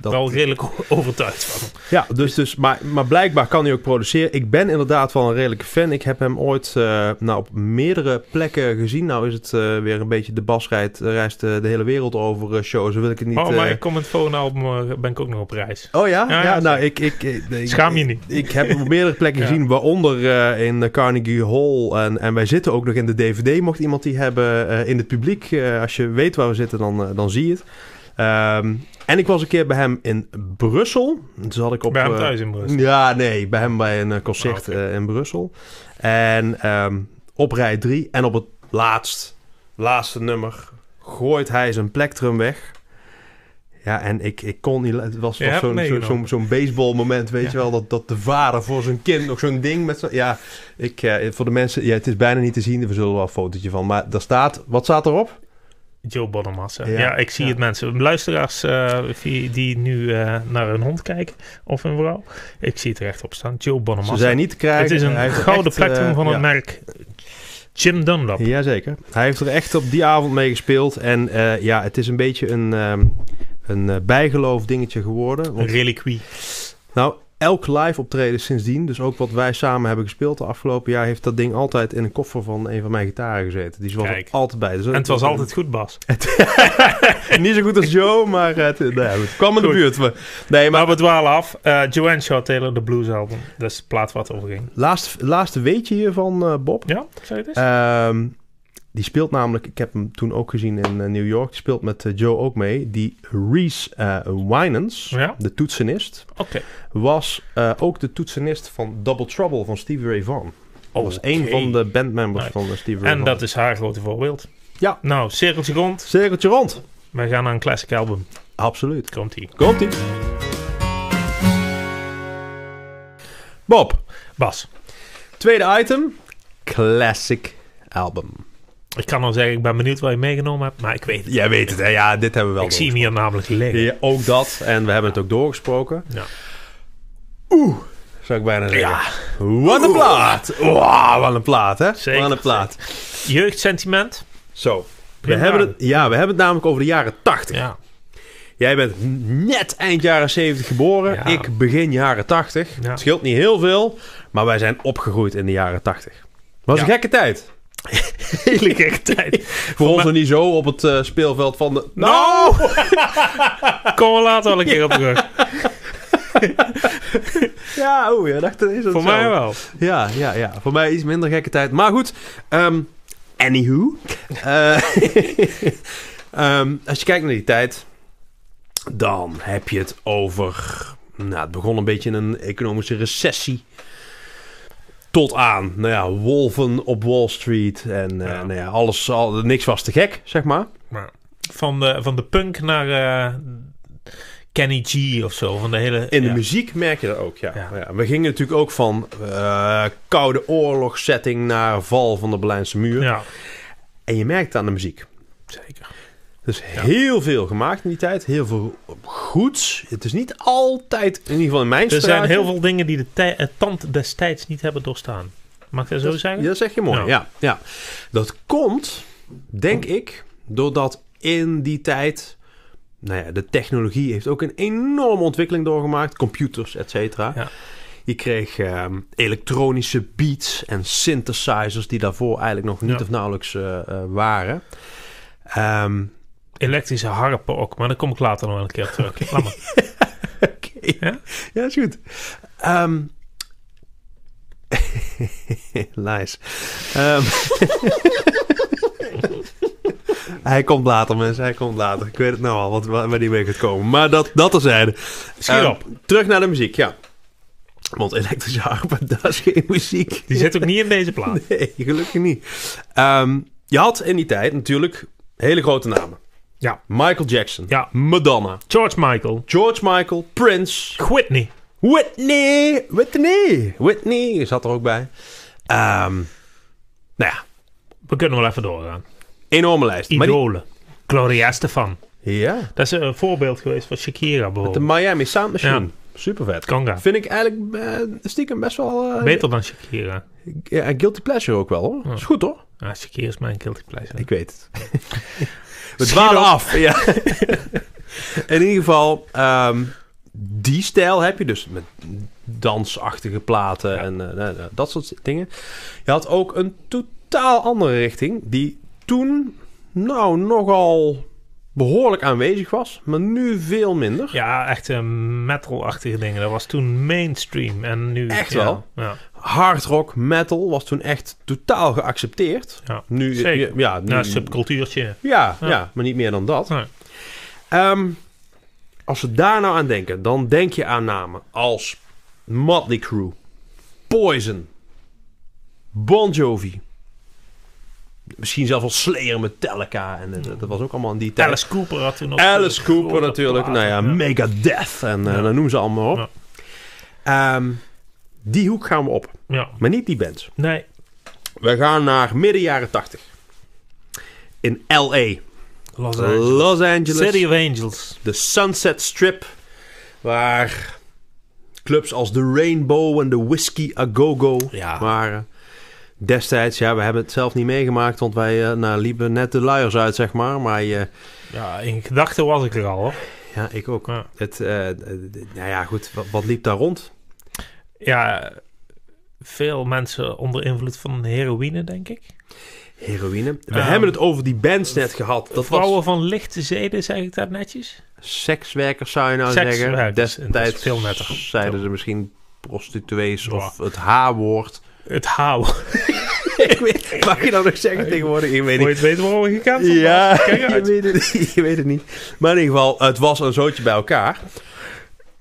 [SPEAKER 2] Dat-
[SPEAKER 1] wel redelijk o- overtuigd van hem.
[SPEAKER 2] Ja, dus, dus, maar, maar blijkbaar kan hij ook produceren. Ik ben inderdaad wel een redelijke fan. Ik heb hem ooit eh, nou, op meerdere plekken gezien. Nou is het eh, weer een beetje de bas rijdt, reist eh, de hele wereld over eh, shows. Dan wil ik het niet...
[SPEAKER 1] oh, maar
[SPEAKER 2] eh,
[SPEAKER 1] ik kom het volgende album eh, ben ik ook nog op reis.
[SPEAKER 2] Oh ja?
[SPEAKER 1] Ja,
[SPEAKER 2] Ja,
[SPEAKER 1] ja,
[SPEAKER 2] nou, ik, ik, ik- ik-
[SPEAKER 1] Schaam je
[SPEAKER 2] ik-
[SPEAKER 1] niet.
[SPEAKER 2] Ik, heb hem op meerdere plekken
[SPEAKER 1] Ja.
[SPEAKER 2] gezien, waaronder eh, in de Carnegie Hall. En, en wij zitten ook nog in de DVD, mocht iemand die hebben eh, in het publiek. Eh, als je weet waar we zitten, dan, eh, dan zie je het. Ehm, en ik was een keer bij hem in Brussel. Dus had ik op,
[SPEAKER 1] Bij hem
[SPEAKER 2] eh,
[SPEAKER 1] thuis in Brussel.
[SPEAKER 2] Ja, nee, bij hem bij een eh, concert
[SPEAKER 1] Oh, oké.
[SPEAKER 2] eh, in Brussel. En ehm, op rij 3 en op het laatst Laatste nummer. Gooit hij zijn plektrum weg. Ja, en ik, ik kon niet... la- Het was,
[SPEAKER 1] Je
[SPEAKER 2] was
[SPEAKER 1] hebt
[SPEAKER 2] zo'n zo,
[SPEAKER 1] meegenomen.
[SPEAKER 2] zo'n zo'n baseball moment, weet
[SPEAKER 1] Ja.
[SPEAKER 2] je wel. Dat, dat de vader voor zijn kind nog zo'n ding met zijn... Ja, ik, eh, voor de mensen... Ja, het is bijna niet te zien. We zullen wel een fotootje van. Maar daar staat... Wat staat erop?
[SPEAKER 1] Joe Bonamassa.
[SPEAKER 2] Ja,
[SPEAKER 1] Ja, ik zie
[SPEAKER 2] ja.
[SPEAKER 1] het mensen. Luisteraars eh, die, die nu eh, naar hun hond kijken of hun vrouw. Ik zie het rechtop staan. Joe Bonamassa.
[SPEAKER 2] Ze zijn niet te krijgen.
[SPEAKER 1] het is
[SPEAKER 2] Hij
[SPEAKER 1] een
[SPEAKER 2] heeft er
[SPEAKER 1] gouden
[SPEAKER 2] echt,
[SPEAKER 1] plektrum
[SPEAKER 2] eh,
[SPEAKER 1] van het
[SPEAKER 2] ja.
[SPEAKER 1] merk Jim Dunlop.
[SPEAKER 2] Jazeker. Hij heeft er echt op die avond mee gespeeld. En eh, ja, het is een beetje een, ehm, een eh, bijgeloof dingetje geworden.
[SPEAKER 1] Een
[SPEAKER 2] Want,
[SPEAKER 1] reliquie.
[SPEAKER 2] nou, elk live optreden sindsdien, dus ook wat wij samen hebben gespeeld de afgelopen jaar, heeft dat ding altijd in een koffer van een van mijn gitaren gezeten. Die was er
[SPEAKER 1] Kijk.
[SPEAKER 2] altijd bij. Dus
[SPEAKER 1] En het was altijd goed, Bas.
[SPEAKER 2] niet zo goed als Joe, maar eh, het, nou ja, goed, het kwam in de
[SPEAKER 1] Goed.
[SPEAKER 2] buurt. Maar, nee, maar
[SPEAKER 1] Maar we dwalen af. Eh, Joanne Shaw Taylor, de blues album. Dat is de plaat wat over ging.
[SPEAKER 2] laatste, laatste weetje hiervan, eh, Bob.
[SPEAKER 1] Ja, zei het eens?
[SPEAKER 2] Ehm, die speelt namelijk, ik heb hem toen ook gezien in eh, New York, die speelt met eh, Joe ook mee. Die Reese eh Winans,
[SPEAKER 1] Ja.
[SPEAKER 2] de toetsenist,
[SPEAKER 1] Oké.
[SPEAKER 2] was eh, ook de toetsenist van Double Trouble van Stevie Ray Vaughan. Dat was
[SPEAKER 1] Oké.
[SPEAKER 2] één van de bandmembers
[SPEAKER 1] Nice.
[SPEAKER 2] van eh, Stevie Ray
[SPEAKER 1] En
[SPEAKER 2] Vaughan.
[SPEAKER 1] dat is haar grote voorbeeld.
[SPEAKER 2] Ja.
[SPEAKER 1] Nou, cirkeltje rond.
[SPEAKER 2] Cirkeltje rond.
[SPEAKER 1] Wij gaan naar een classic album.
[SPEAKER 2] Absoluut.
[SPEAKER 1] Komt ie.
[SPEAKER 2] Komt-ie. Bob,
[SPEAKER 1] Bas,
[SPEAKER 2] tweede item. Classic album.
[SPEAKER 1] ik kan al zeggen, ik ben benieuwd wat je meegenomen hebt, maar ik weet het.
[SPEAKER 2] Jij weet het, hè? Ja, dit hebben we wel
[SPEAKER 1] Ik zie hem hier namelijk liggen.
[SPEAKER 2] Ja, ook dat. En we hebben het ook doorgesproken.
[SPEAKER 1] Ja.
[SPEAKER 2] Oeh, zou ik bijna zeggen.
[SPEAKER 1] Ja.
[SPEAKER 2] Wat een plaat. Wauw, wat een plaat, hè?
[SPEAKER 1] Zeker,
[SPEAKER 2] Wat een plaat.
[SPEAKER 1] Jeugdsentiment.
[SPEAKER 2] Zo. We
[SPEAKER 1] Prima.
[SPEAKER 2] hebben, het, ja, we hebben het namelijk over de jaren 80.
[SPEAKER 1] Ja.
[SPEAKER 2] Jij bent net eind jaren 70 geboren.
[SPEAKER 1] Ja.
[SPEAKER 2] Ik begin jaren 80.
[SPEAKER 1] Ja.
[SPEAKER 2] Het scheelt niet heel veel, maar wij zijn opgegroeid in de jaren 80. Was
[SPEAKER 1] Ja.
[SPEAKER 2] een gekke tijd.
[SPEAKER 1] Hele gekke tijd.
[SPEAKER 2] Voor ons er niet zo op het eh, speelveld van de...
[SPEAKER 1] Nou! Kom we later al een keer op terug.
[SPEAKER 2] Ja, oeh, je dacht, is dat
[SPEAKER 1] Voor
[SPEAKER 2] zo?
[SPEAKER 1] mij wel.
[SPEAKER 2] Ja, ja, ja. Voor mij iets minder gekke tijd. Maar goed, ehm, anywho. Eh, ehm, als je kijkt naar die tijd, dan heb je het over... Nou, het begon een beetje in een economische recessie. Tot aan, nou ja, wolven op Wall Street. En eh,
[SPEAKER 1] Ja.
[SPEAKER 2] Nou ja, alles, al, niks was te gek, zeg maar.
[SPEAKER 1] Maar van, de, van de punk naar eh, Kenny G of zo. Van de hele,
[SPEAKER 2] In de
[SPEAKER 1] ja.
[SPEAKER 2] muziek merk je dat ook, ja.
[SPEAKER 1] Ja.
[SPEAKER 2] Ja, we gingen natuurlijk ook van eh, koude oorlogssetting naar val van de Berlijnse muur.
[SPEAKER 1] Ja,
[SPEAKER 2] En je merkt het aan de muziek.
[SPEAKER 1] zeker.
[SPEAKER 2] Dus heel veel gemaakt in die tijd. Heel veel goeds. Het is niet altijd, in ieder geval in mijn
[SPEAKER 1] Er zijn
[SPEAKER 2] straatje.
[SPEAKER 1] heel veel dingen die de tij- het tand destijds niet hebben doorstaan. Mag ik dat zo zeggen?
[SPEAKER 2] Ja, dat zeg je mooi. Ja.
[SPEAKER 1] Ja.
[SPEAKER 2] Ja, Dat komt, denk ik, doordat in die tijd... Nou ja, de technologie heeft ook een enorme ontwikkeling doorgemaakt. Computers, et cetera.
[SPEAKER 1] Ja.
[SPEAKER 2] Je kreeg ehm, elektronische beats en synthesizers... die daarvoor eigenlijk nog niet
[SPEAKER 1] Ja.
[SPEAKER 2] of nauwelijks eh, eh, waren. Ehm,
[SPEAKER 1] Elektrische harpen ook, maar daar kom ik later nog wel een keer op terug. Laat maar.
[SPEAKER 2] Oké.
[SPEAKER 1] Ja?
[SPEAKER 2] Ja, is goed. Ehm nice. Ehm, hij komt later, mensen. Hij komt later. Ik weet het nou al, wat, waar waar die mee gaat komen. Maar dat, dat terzijde.
[SPEAKER 1] Schiet
[SPEAKER 2] Ehm,
[SPEAKER 1] op.
[SPEAKER 2] Terug naar de muziek, ja. Want elektrische harpen, dat is geen muziek.
[SPEAKER 1] Die zit ook niet in deze plaat.
[SPEAKER 2] Nee, gelukkig niet. Ehm, je had in die tijd natuurlijk hele grote namen.
[SPEAKER 1] Ja.
[SPEAKER 2] Michael Jackson.
[SPEAKER 1] Ja.
[SPEAKER 2] Madonna.
[SPEAKER 1] George Michael.
[SPEAKER 2] George Michael. Prince.
[SPEAKER 1] Whitney.
[SPEAKER 2] Whitney! Whitney! Whitney zat er ook bij. Ehm, nou ja,
[SPEAKER 1] We kunnen wel even doorgaan.
[SPEAKER 2] enorme lijst. Maar die-
[SPEAKER 1] Idolen. Gloria Stefan.
[SPEAKER 2] ja,
[SPEAKER 1] Dat is een voorbeeld geweest van Shakira
[SPEAKER 2] de
[SPEAKER 1] bijvoorbeeld.
[SPEAKER 2] Miami Sound Machine.
[SPEAKER 1] Ja.
[SPEAKER 2] Super vet.
[SPEAKER 1] Conga.
[SPEAKER 2] Vind ik eigenlijk eh, stiekem best wel... eh,
[SPEAKER 1] Beter dan Shakira.
[SPEAKER 2] ja, en Guilty Pleasure ook wel hoor. Is goed hoor.
[SPEAKER 1] Ah, Shakira is mijn guilty pleasure.
[SPEAKER 2] Ik weet het. We dwalen af. Ja. In ieder geval, ehm, die stijl heb je dus met dansachtige platen en eh, nou, nou, dat soort dingen. Je had ook een totaal andere richting die toen nou nogal behoorlijk aanwezig was, maar nu veel minder.
[SPEAKER 1] Ja, echt eh, metal-achtige dingen. Dat was toen mainstream. En nu...
[SPEAKER 2] Echt
[SPEAKER 1] ja,
[SPEAKER 2] wel?
[SPEAKER 1] Ja.
[SPEAKER 2] Hard rock, metal was toen echt totaal geaccepteerd.
[SPEAKER 1] ja.
[SPEAKER 2] Nu,
[SPEAKER 1] Zeker.
[SPEAKER 2] ja, nu,
[SPEAKER 1] Nou, subcultuurtje.
[SPEAKER 2] ja, ja.
[SPEAKER 1] Ja.
[SPEAKER 2] maar niet meer dan dat.
[SPEAKER 1] Nee.
[SPEAKER 2] Ehm, als we daar nou aan denken, dan denk je aan namen als Motley Crue, Poison, Bon Jovi, Misschien zelfs al Slayer Metallica. En eh, dat was ook allemaal in die tijd.
[SPEAKER 1] Alice Cooper had toen ook...
[SPEAKER 2] Alice Cooper
[SPEAKER 1] grote
[SPEAKER 2] natuurlijk. Nou ja,
[SPEAKER 1] platen.
[SPEAKER 2] Megadeth. En eh,
[SPEAKER 1] Ja.
[SPEAKER 2] dan noem ze allemaal op. Ehm, die hoek gaan we op.
[SPEAKER 1] Ja.
[SPEAKER 2] Maar niet die bands.
[SPEAKER 1] Nee.
[SPEAKER 2] We gaan naar midden jaren 80. In L.A.
[SPEAKER 1] Los Angeles.
[SPEAKER 2] Los Angeles.
[SPEAKER 1] City of Angels.
[SPEAKER 2] De Sunset Strip. Waar clubs als de Rainbow en de Whiskey A Go Go
[SPEAKER 1] Ja.
[SPEAKER 2] waren. Destijds, ja, we hebben het zelf niet meegemaakt, want wij eh, nou, liepen net de luiers uit, zeg maar. Maar eh,
[SPEAKER 1] Ja, in gedachten was ik er al, hoor.
[SPEAKER 2] ja, ik ook.
[SPEAKER 1] Ja.
[SPEAKER 2] Het, eh, eh, d- nou ja, goed, wat, wat liep daar rond?
[SPEAKER 1] Ja, veel mensen onder invloed van heroïne, denk ik.
[SPEAKER 2] Heroïne. We
[SPEAKER 1] Ehm,
[SPEAKER 2] hebben het over die bands net gehad. Dat
[SPEAKER 1] Vrouwen
[SPEAKER 2] was
[SPEAKER 1] van lichte zeden, zeg ik dat netjes?
[SPEAKER 2] sekswerkers, zou je nou zeggen.
[SPEAKER 1] Sekswerkers, en dat is
[SPEAKER 2] Destijds
[SPEAKER 1] veel netter.
[SPEAKER 2] zeiden ze misschien prostituees
[SPEAKER 1] Ja.
[SPEAKER 2] of het H-woord.
[SPEAKER 1] Het houden.
[SPEAKER 2] Ik weet- Mag je dat nog zeggen tegenwoordig? Ik weet
[SPEAKER 1] Wil
[SPEAKER 2] niet.
[SPEAKER 1] je het weten waarom we gekend zijn?
[SPEAKER 2] Ja,
[SPEAKER 1] Kijk
[SPEAKER 2] je
[SPEAKER 1] uit.
[SPEAKER 2] weet, het, niet, je weet het niet. Maar in ieder geval, het was een zootje bij elkaar.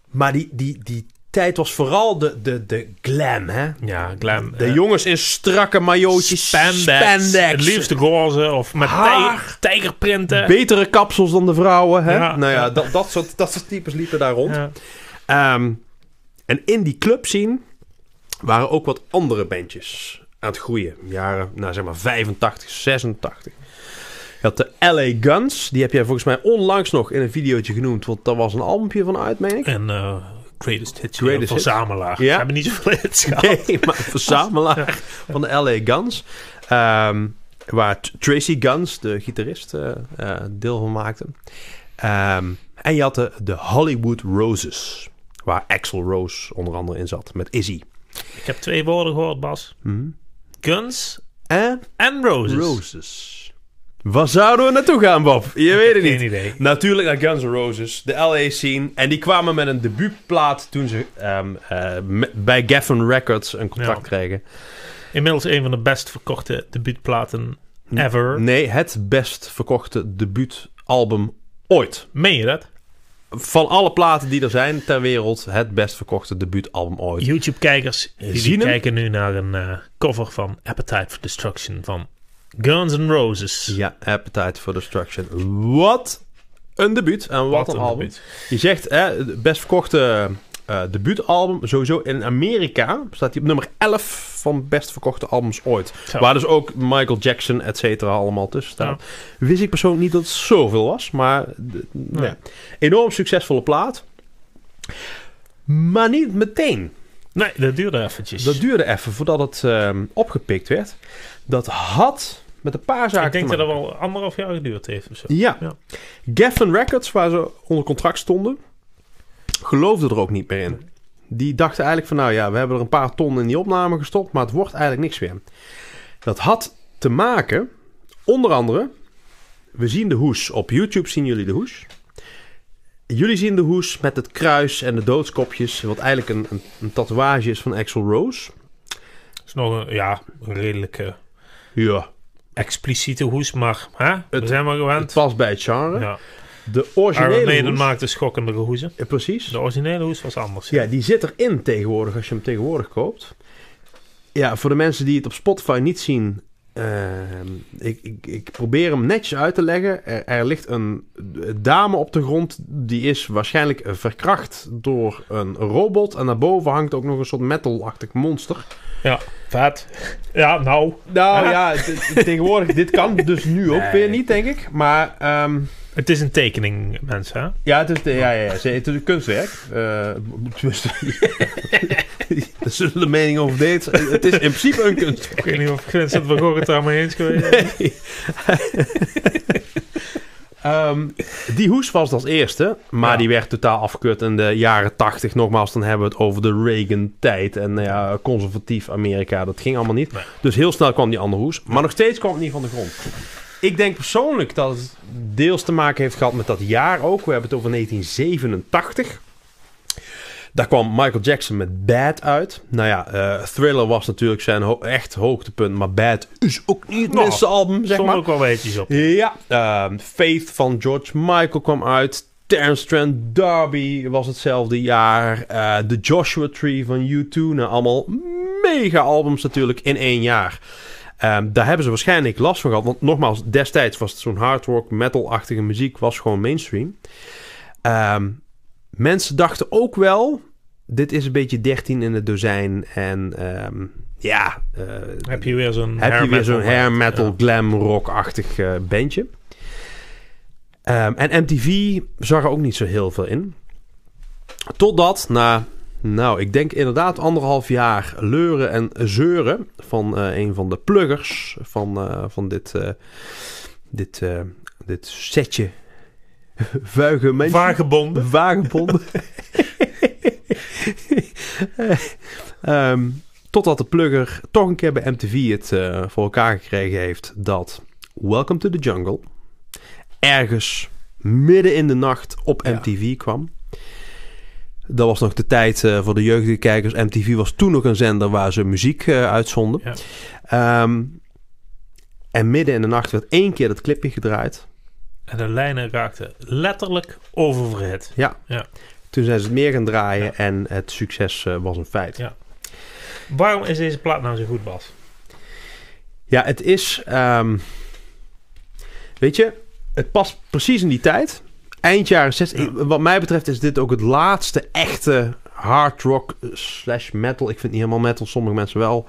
[SPEAKER 2] Maar die, die, die tijd was vooral de, de, de glam, hè?
[SPEAKER 1] Ja, glam.
[SPEAKER 2] De
[SPEAKER 1] eh,
[SPEAKER 2] jongens in strakke majootjes,
[SPEAKER 1] spandex. Het liefst roze of met
[SPEAKER 2] Haar.
[SPEAKER 1] tij- tijgerprinten.
[SPEAKER 2] Betere kapsels dan de vrouwen, hè?
[SPEAKER 1] Ja.
[SPEAKER 2] nou ja, dat, dat, soort, dat soort types liepen daar rond.
[SPEAKER 1] Ja.
[SPEAKER 2] Ehm, en in die club zien waren ook wat andere bandjes aan het groeien. Jaren, nou zeg maar 85, 86. Je had de LA Guns. Die heb jij volgens mij onlangs nog in een videootje genoemd. Want daar was een albumje van uit, meen ik.
[SPEAKER 1] En eh, Greatest Hits.
[SPEAKER 2] Greatest
[SPEAKER 1] Greatest Verzamelaar.
[SPEAKER 2] Ja.
[SPEAKER 1] Ze hebben niet zoveel hits gehad.
[SPEAKER 2] Nee, maar een verzamelaar van de LA Guns. Ehm, waar T- Tracy Guns, de gitarist, eh, eh, deel van maakte. Ehm, en je had de, de Hollywood Roses. Waar Axel Rose onder andere in zat. Met Izzy.
[SPEAKER 1] Ik heb twee woorden gehoord, Bas. Guns
[SPEAKER 2] En
[SPEAKER 1] en Roses.
[SPEAKER 2] Hm. Roses. Waar zouden we naartoe gaan, Bob? Je weet het niet.
[SPEAKER 1] Geen idee.
[SPEAKER 2] Natuurlijk naar Guns N' Roses, de LA scene. En die kwamen met een debuutplaat toen ze ehm, eh, me- bij Geffen Records een contract
[SPEAKER 1] Ja.
[SPEAKER 2] kregen.
[SPEAKER 1] Inmiddels een van de best verkochte debuutplaten ever.
[SPEAKER 2] Nee, het best verkochte debuutalbum ooit.
[SPEAKER 1] Meen je dat?
[SPEAKER 2] Van alle platen die er zijn ter wereld, het best verkochte debuutalbum ooit.
[SPEAKER 1] YouTube-kijkers die
[SPEAKER 2] Zien hem?
[SPEAKER 1] kijken nu naar een eh, cover van Appetite for Destruction van Guns N' Roses.
[SPEAKER 2] Ja, Appetite for Destruction. Wat een debuut en wat, een, album.
[SPEAKER 1] debuut.
[SPEAKER 2] Je zegt, hè, het best verkochte eh, debuutalbum. Sowieso in Amerika staat hij op nummer 11 van best verkochte albums ooit.
[SPEAKER 1] Zo.
[SPEAKER 2] Waar dus ook Michael Jackson, et cetera, allemaal tussen staan. Wist ik persoonlijk niet dat het zoveel was, maar d- nee. enorm succesvolle plaat. Maar niet meteen.
[SPEAKER 1] Nee, dat duurde eventjes.
[SPEAKER 2] Dat duurde even voordat het ehm, opgepikt werd. Dat had met een paar zaken
[SPEAKER 1] Ik denk
[SPEAKER 2] te
[SPEAKER 1] dat
[SPEAKER 2] maken.
[SPEAKER 1] dat wel anderhalf jaar geduurd heeft of zo.
[SPEAKER 2] Ja.
[SPEAKER 1] Ja.
[SPEAKER 2] Geffen Records, waar ze onder contract stonden, geloofde er ook niet meer in. Die dachten eigenlijk van, nou ja, we hebben er een paar ton in die opname gestopt, maar het wordt eigenlijk niks meer. Dat had te maken, onder andere, we zien de hoes. Op YouTube zien jullie de hoes. Jullie zien de hoes met het kruis en de doodskopjes, wat eigenlijk een, een, een tatoeage is van Axel Rose.
[SPEAKER 1] is nog een, ja, een redelijke
[SPEAKER 2] Ja,
[SPEAKER 1] expliciete hoes, maar hè? we
[SPEAKER 2] Het-
[SPEAKER 1] zijn maar
[SPEAKER 2] het
[SPEAKER 1] gewend.
[SPEAKER 2] past bij het genre.
[SPEAKER 1] Ja.
[SPEAKER 2] De
[SPEAKER 1] Iron
[SPEAKER 2] originele
[SPEAKER 1] Maiden
[SPEAKER 2] hoes,
[SPEAKER 1] maakte schokkende hoezen.
[SPEAKER 2] eh, precies.
[SPEAKER 1] De originele hoes was anders.
[SPEAKER 2] Ja, die zit erin tegenwoordig als je hem tegenwoordig koopt. Ja, voor de mensen die het op Spotify niet zien. ehm, ik, ik, ik probeer hem netjes uit te leggen. Er, er ligt een dame op de grond. Die is waarschijnlijk verkracht door een robot. En daarboven hangt ook nog een soort metalachtig monster.
[SPEAKER 1] ja. Vet. Ja, nou.
[SPEAKER 2] Nou ja, t- tegenwoordig, dit kan dus nu ook
[SPEAKER 1] Nee.
[SPEAKER 2] weer niet, denk ik. Maar ehm,
[SPEAKER 1] Het is een tekening, mensen. Hè?
[SPEAKER 2] Ja, het is, de- ja, ja, ja, het is een kunstwerk. Eh, b- tenminste, Daar zullen de meningen over deed. Het is in principe een kunstwerk.
[SPEAKER 1] Ik weet niet of Vincent van Gogh het daarmee eens geweest is.
[SPEAKER 2] Ehm, die hoes was als eerste, maar
[SPEAKER 1] Ja.
[SPEAKER 2] die werd totaal afgekeurd in de jaren tachtig. Nogmaals, dan hebben we het over de Reagan-tijd en nou ja, conservatief Amerika. Dat ging allemaal niet.
[SPEAKER 1] Nee.
[SPEAKER 2] Dus heel snel kwam die andere hoes. Maar nog steeds kwam het niet van de grond. Ik denk persoonlijk dat het deels te maken heeft gehad met dat jaar ook. We hebben het over 1987. Daar kwam Michael Jackson met Bad uit. Nou ja, eh, Thriller was natuurlijk zijn ho- echt hoogtepunt. Maar Bad is ook niet het
[SPEAKER 1] Nou,
[SPEAKER 2] minste album, zeg
[SPEAKER 1] Stond
[SPEAKER 2] maar.
[SPEAKER 1] ook wel weetjes op.
[SPEAKER 2] Ja, ehm, Faith van George Michael kwam uit. Terence Trent D'Arby was hetzelfde jaar. Eh, The Joshua Tree van U2. Nou, allemaal mega albums natuurlijk in één jaar. Ehm, daar hebben ze waarschijnlijk last van gehad. Want nogmaals, destijds was het zo'n hard rock, metal-achtige muziek, was gewoon mainstream. Ehm, mensen dachten ook wel, dit is een beetje 13 in het dozijn. En ehm, ja, eh,
[SPEAKER 1] Heb je weer zo'n
[SPEAKER 2] heb je weer zo'n hair metal,
[SPEAKER 1] Ja.
[SPEAKER 2] glam rock-achtig eh, bandje. Ehm, en MTV zag er ook niet zo heel veel in. Totdat na, nou, ik denk inderdaad anderhalf jaar leuren en zeuren van eh, een van de pluggers van, eh, van dit, eh, dit, eh, dit setje vuige mensen.
[SPEAKER 1] Vagebonden.
[SPEAKER 2] Wagenbonden. Ehm, totdat de plugger toch een keer bij MTV het eh, voor elkaar gekregen heeft dat Welcome to the Jungle ergens midden in de nacht op
[SPEAKER 1] Ja.
[SPEAKER 2] MTV kwam. Dat was nog de tijd eh, voor de jeugdige kijkers. MTV was toen nog een zender waar ze muziek eh, uitzonden.
[SPEAKER 1] Ja.
[SPEAKER 2] Ehm, en midden in de nacht werd één keer dat clipje gedraaid.
[SPEAKER 1] En de lijnen raakten letterlijk oververhit.
[SPEAKER 2] Toen zijn ze het meer gaan draaien
[SPEAKER 1] Ja.
[SPEAKER 2] en het succes eh, was een feit.
[SPEAKER 1] Ja. Waarom is deze plaat nou zo goed, Bas?
[SPEAKER 2] Ja, het is. ehm, weet je, het past precies in die tijd. Eind jaren 60.
[SPEAKER 1] Ja.
[SPEAKER 2] Wat mij betreft is dit ook het laatste echte hard rock eh, slash metal. Ik vind niet helemaal metal, sommige mensen wel.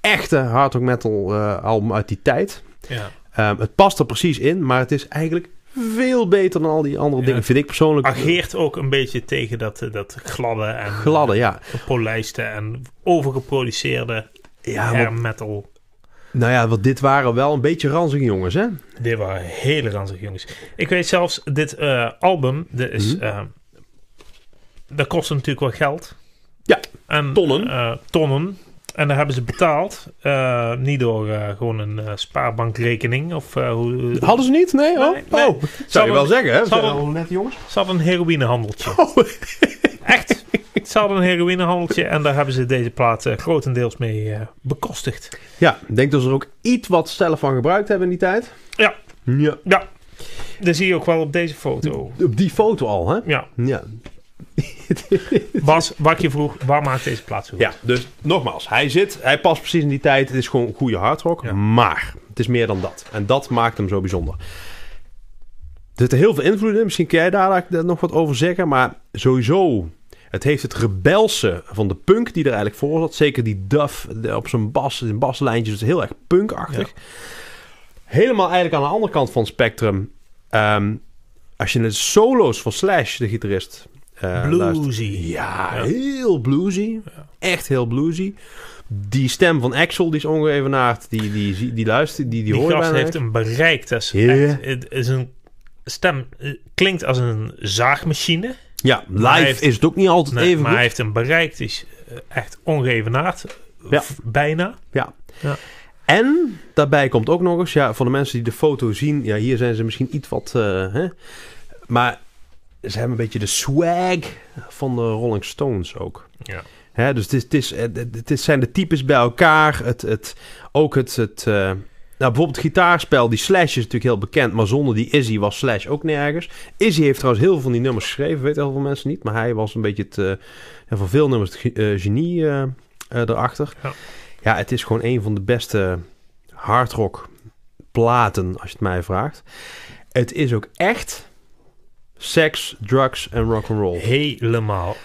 [SPEAKER 2] Echte hard rock metal eh, album uit die tijd.
[SPEAKER 1] Ja.
[SPEAKER 2] Ehm, het past er precies in, maar het is eigenlijk veel beter dan al die andere
[SPEAKER 1] Ja.
[SPEAKER 2] dingen. Vind ik persoonlijk.
[SPEAKER 1] Ageert ook een beetje tegen dat, eh, dat gladde en
[SPEAKER 2] Gladde, ja.
[SPEAKER 1] gepolijste en overgeproduceerde
[SPEAKER 2] ja
[SPEAKER 1] hair
[SPEAKER 2] want-
[SPEAKER 1] metal.
[SPEAKER 2] nou ja, want dit waren wel een beetje ranzige jongens, hè?
[SPEAKER 1] Dit waren hele ranzige jongens. Ik weet zelfs, dit eh, album, dit is,
[SPEAKER 2] Mhm.
[SPEAKER 1] eh, dat kostte natuurlijk wel geld.
[SPEAKER 2] Ja,
[SPEAKER 1] en,
[SPEAKER 2] tonnen.
[SPEAKER 1] eh, tonnen. En daar hebben ze betaald. eh, niet door eh, gewoon een eh, spaarbankrekening of eh, hoe...
[SPEAKER 2] Hadden ze niet? Nee? Oh,
[SPEAKER 1] Nee, nee.
[SPEAKER 2] oh. zou je wel zeggen, hè?
[SPEAKER 1] Zou-
[SPEAKER 2] Zijn wel net jongens.
[SPEAKER 1] Ze hadden een heroïnehandeltje.
[SPEAKER 2] Oh.
[SPEAKER 1] Echt? Ze hadden een heroïnehandeltje en daar hebben ze deze plaat eh, grotendeels mee eh, bekostigd.
[SPEAKER 2] Ja, ik denk dat ze er ook iets wat zelf van gebruikt hebben in die tijd.
[SPEAKER 1] Ja.
[SPEAKER 2] Ja.
[SPEAKER 1] Dat zie je ook wel op deze foto.
[SPEAKER 2] Op die foto al, hè?
[SPEAKER 1] Ja,
[SPEAKER 2] Ja.
[SPEAKER 1] Bas, wat ik je vroeg, waar maakt deze plaat zo goed?
[SPEAKER 2] Ja, dus nogmaals, hij zit, hij past precies in die tijd. Het is gewoon goede hardrock,
[SPEAKER 1] Ja.
[SPEAKER 2] maar het is meer dan dat. En dat maakt hem zo bijzonder. Er zitten heel veel invloeden in. Misschien kun jij daar daar nog wat over zeggen, maar sowieso... Het heeft het rebelse van de punk die er eigenlijk voor zat. Zeker die Duff de- op zijn bas, zijn baslijntjes, is heel erg punkachtig. Helemaal eigenlijk aan de andere kant van het spectrum. ehm, als je de solo's van Slash, de gitarist, eh, luistert.
[SPEAKER 1] Bluesy.
[SPEAKER 2] Ja,
[SPEAKER 1] Ja.
[SPEAKER 2] heel bluesy. Echt heel bluesy. Die stem van Axel, die is ongeëvenaard. Die, die, die, die luistert, die, die,
[SPEAKER 1] Die
[SPEAKER 2] hoor je
[SPEAKER 1] gast
[SPEAKER 2] bijna
[SPEAKER 1] heeft
[SPEAKER 2] niet.
[SPEAKER 1] een bereik. Dat is
[SPEAKER 2] Ja.
[SPEAKER 1] echt- het is een stem eh, klinkt als een zaagmachine.
[SPEAKER 2] Ja,
[SPEAKER 1] hij
[SPEAKER 2] live
[SPEAKER 1] heeft-
[SPEAKER 2] is het ook niet altijd
[SPEAKER 1] Nee,
[SPEAKER 2] even
[SPEAKER 1] maar
[SPEAKER 2] goed.
[SPEAKER 1] hij heeft een bereik. Het is eh, echt ongeëvenaard.
[SPEAKER 2] Ja.
[SPEAKER 1] V- Bijna.
[SPEAKER 2] Ja.
[SPEAKER 1] Ja.
[SPEAKER 2] En daarbij komt ook nog eens, ja, voor de mensen die de foto zien, ja, hier zijn ze misschien iets wat, eh, hè, maar ze hebben een beetje de swag van de Rolling Stones ook.
[SPEAKER 1] Ja.
[SPEAKER 2] Hè, dus het, is, het, is, eh, het- het is- zijn de types bij elkaar. Het, het, ook het, het eh, nou, bijvoorbeeld het gitaarspel, die Slash is natuurlijk heel bekend, maar zonder die Izzy was Slash ook nergens. Izzy heeft trouwens heel veel van die nummers geschreven, weet heel veel mensen niet, maar hij was een beetje het, eh, ja, van veel nummers het ge- eh, genie eh, eh, erachter.
[SPEAKER 1] Ja.
[SPEAKER 2] Ja, het is gewoon een van de beste hardrock platen, als je het mij vraagt. Het is ook echt seks, drugs en rock'n'roll.
[SPEAKER 1] Helemaal.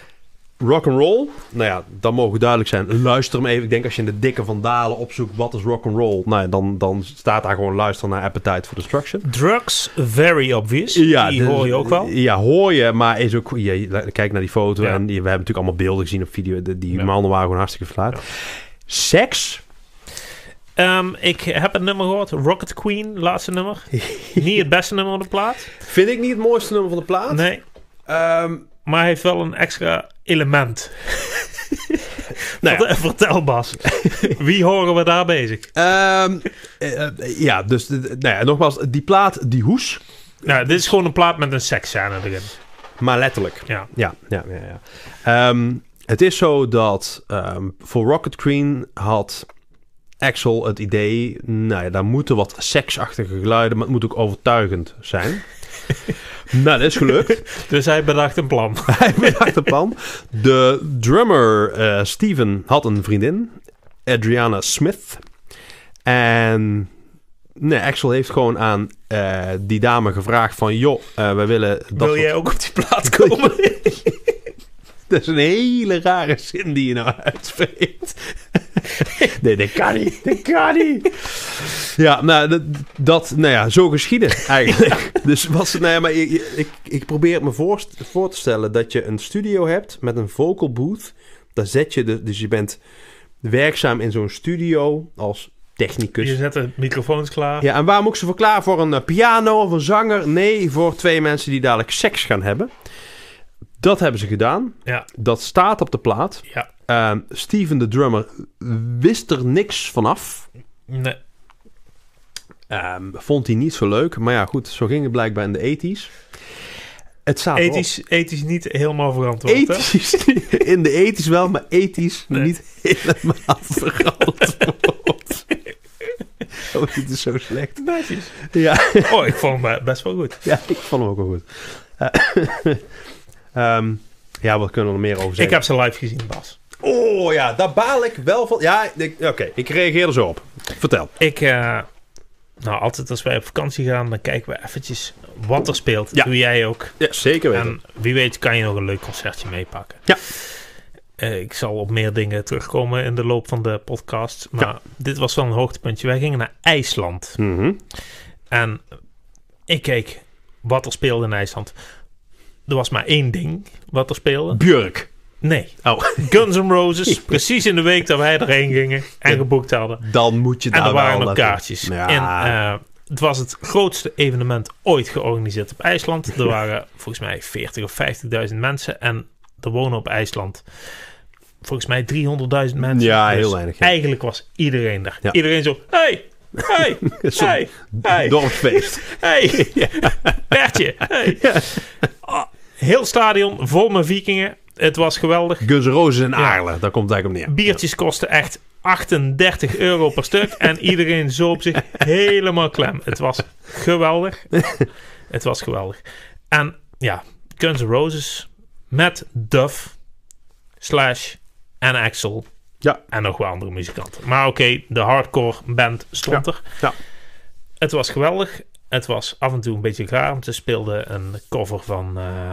[SPEAKER 2] Rock'n'roll, nou ja, dat mogen duidelijk zijn. Luister hem even. Ik denk als je in de dikke van Dalen opzoekt wat is rock'n'roll, nou ja, dan, dan staat daar gewoon luister naar Appetite for Destruction.
[SPEAKER 1] Drugs, very obvious. die
[SPEAKER 2] dit-
[SPEAKER 1] hoor je ook wel.
[SPEAKER 2] Ja, hoor je, maar is ook... Ja, je- kijk naar die foto
[SPEAKER 1] Ja.
[SPEAKER 2] en die- we hebben natuurlijk allemaal beelden gezien op video. De- Die
[SPEAKER 1] Ja.
[SPEAKER 2] mannen waren gewoon hartstikke verlaat.
[SPEAKER 1] Ja.
[SPEAKER 2] Seks,
[SPEAKER 1] Ehm, ik heb het nummer gehoord. Rocket Queen, laatste nummer. Niet het beste nummer op de plaat.
[SPEAKER 2] Vind ik niet het mooiste nummer van de plaat.
[SPEAKER 1] Nee.
[SPEAKER 2] Ehm,
[SPEAKER 1] Maar hij heeft wel een extra element.
[SPEAKER 2] nou
[SPEAKER 1] Vertel-
[SPEAKER 2] ja,
[SPEAKER 1] Vertel Bas. Wie horen we daar bezig?
[SPEAKER 2] ehm, eh, eh, ja, dus eh, nou ja, nogmaals, die plaat, die hoes,
[SPEAKER 1] Nou, dit is gewoon een plaat met een seksscène erin.
[SPEAKER 2] maar letterlijk.
[SPEAKER 1] Ja.
[SPEAKER 2] Ja, ja, ja. ja. Ehm, het is zo dat ehm, voor Rocket Queen had Axel het idee... Nou ja, daar moeten wat seksachtige geluiden, maar het moet ook overtuigend zijn. nou, dat is gelukt.
[SPEAKER 1] Dus hij bedacht een plan.
[SPEAKER 2] Hij bedacht een plan. De drummer eh, Steven had een vriendin, Adriana Smith. En nee, Axel heeft gewoon aan eh, die dame gevraagd van... joh, eh, wij willen... Dat
[SPEAKER 1] Wil
[SPEAKER 2] soort-
[SPEAKER 1] jij ook op die plaat komen?
[SPEAKER 2] Dat is een hele rare zin die je nou uitspreekt. nee, dat kan niet. Dat kan niet. Ja, nou, dat, dat- nou ja, zo geschieden eigenlijk. Dus was het, nou ja, maar ik, ik, ik probeer het me voor, voor te stellen dat je een studio hebt met een vocal booth. Daar zet je, de, dus je bent werkzaam in zo'n studio als technicus.
[SPEAKER 1] Je zet de microfoons klaar.
[SPEAKER 2] dus- Ja, en waarom ook ze voor klaar? Voor een eh, piano of een zanger? Nee, voor twee mensen die dadelijk seks gaan hebben. Dat hebben ze gedaan.
[SPEAKER 1] Ja.
[SPEAKER 2] Dat staat op de plaat.
[SPEAKER 1] Ja.
[SPEAKER 2] Ehm, Steven de drummer wist er niks vanaf. Ah,
[SPEAKER 1] Nee.
[SPEAKER 2] Ehm, vond hij niet zo leuk. Maar ja, goed, zo ging het blijkbaar in de 80s. Het staat erop.
[SPEAKER 1] Ethisch, ethisch niet helemaal verantwoord. hè?
[SPEAKER 2] Ethisch, in de ethisch wel, maar ethisch
[SPEAKER 1] Nee.
[SPEAKER 2] niet helemaal verantwoord. oh, dit is zo slecht.
[SPEAKER 1] Netjes.
[SPEAKER 2] Ja.
[SPEAKER 1] Oh, ik vond hem eh, best wel goed.
[SPEAKER 2] Ja, ik vond hem ook wel goed. Eh, ehm, ja, wat kunnen we er meer over
[SPEAKER 1] Ik
[SPEAKER 2] zeggen?
[SPEAKER 1] heb ze live gezien, Bas.
[SPEAKER 2] Oh ja, daar baal ik wel van. Ja, ik- oké, ik reageer er zo op. Vertel.
[SPEAKER 1] Ik, eh, nou, altijd als wij op vakantie gaan, dan kijken we eventjes wat er speelt.
[SPEAKER 2] Ja.
[SPEAKER 1] Doe jij ook.
[SPEAKER 2] Ja, zeker
[SPEAKER 1] En wie weet kan je nog een leuk concertje meepakken.
[SPEAKER 2] Ja.
[SPEAKER 1] Eh, ik zal op meer dingen terugkomen in de loop van de podcast. Maar dit was wel een hoogtepuntje. Wij gingen naar IJsland.
[SPEAKER 2] Mhm.
[SPEAKER 1] En ik keek wat er speelde in IJsland. Er was maar één ding wat er speelde.
[SPEAKER 2] Björk.
[SPEAKER 1] Nee.
[SPEAKER 2] Oh.
[SPEAKER 1] Guns N' Roses. precies in de week dat wij erheen gingen en geboekt hadden.
[SPEAKER 2] Dan moet je daar
[SPEAKER 1] En er
[SPEAKER 2] Nou, wel
[SPEAKER 1] waren nog
[SPEAKER 2] naartoe.
[SPEAKER 1] kaartjes.
[SPEAKER 2] Ja.
[SPEAKER 1] En eh, het was het grootste evenement ooit georganiseerd op IJsland. Er waren volgens mij 40.000 of 50.000 mensen. En er wonen op IJsland volgens mij 300.000 mensen. Dus
[SPEAKER 2] Ja, heel weinig, ja.
[SPEAKER 1] Eigenlijk was iedereen daar.
[SPEAKER 2] Ja.
[SPEAKER 1] Iedereen zo, hey, hey,
[SPEAKER 2] Zo'n
[SPEAKER 1] hey, hey,
[SPEAKER 2] Dorpsfeest.
[SPEAKER 1] hey, Bertje, hey. Ah, heel stadion vol met vikingen. Het was geweldig.
[SPEAKER 2] Guns N' Roses en Aarle. Daar komt het eigenlijk op neer.
[SPEAKER 1] Biertjes kosten echt 38 euro per stuk. En iedereen zo op zich helemaal klem. Het was geweldig. Het was geweldig. En ja, Guns N' Roses met Duff, Slash en Axel.
[SPEAKER 2] Ja.
[SPEAKER 1] En nog wel andere muzikanten. Maar oké, de hardcore band stond er.
[SPEAKER 2] ja.
[SPEAKER 1] Het was geweldig. Het was af en toe een beetje raar. Want ze speelden een cover van eh,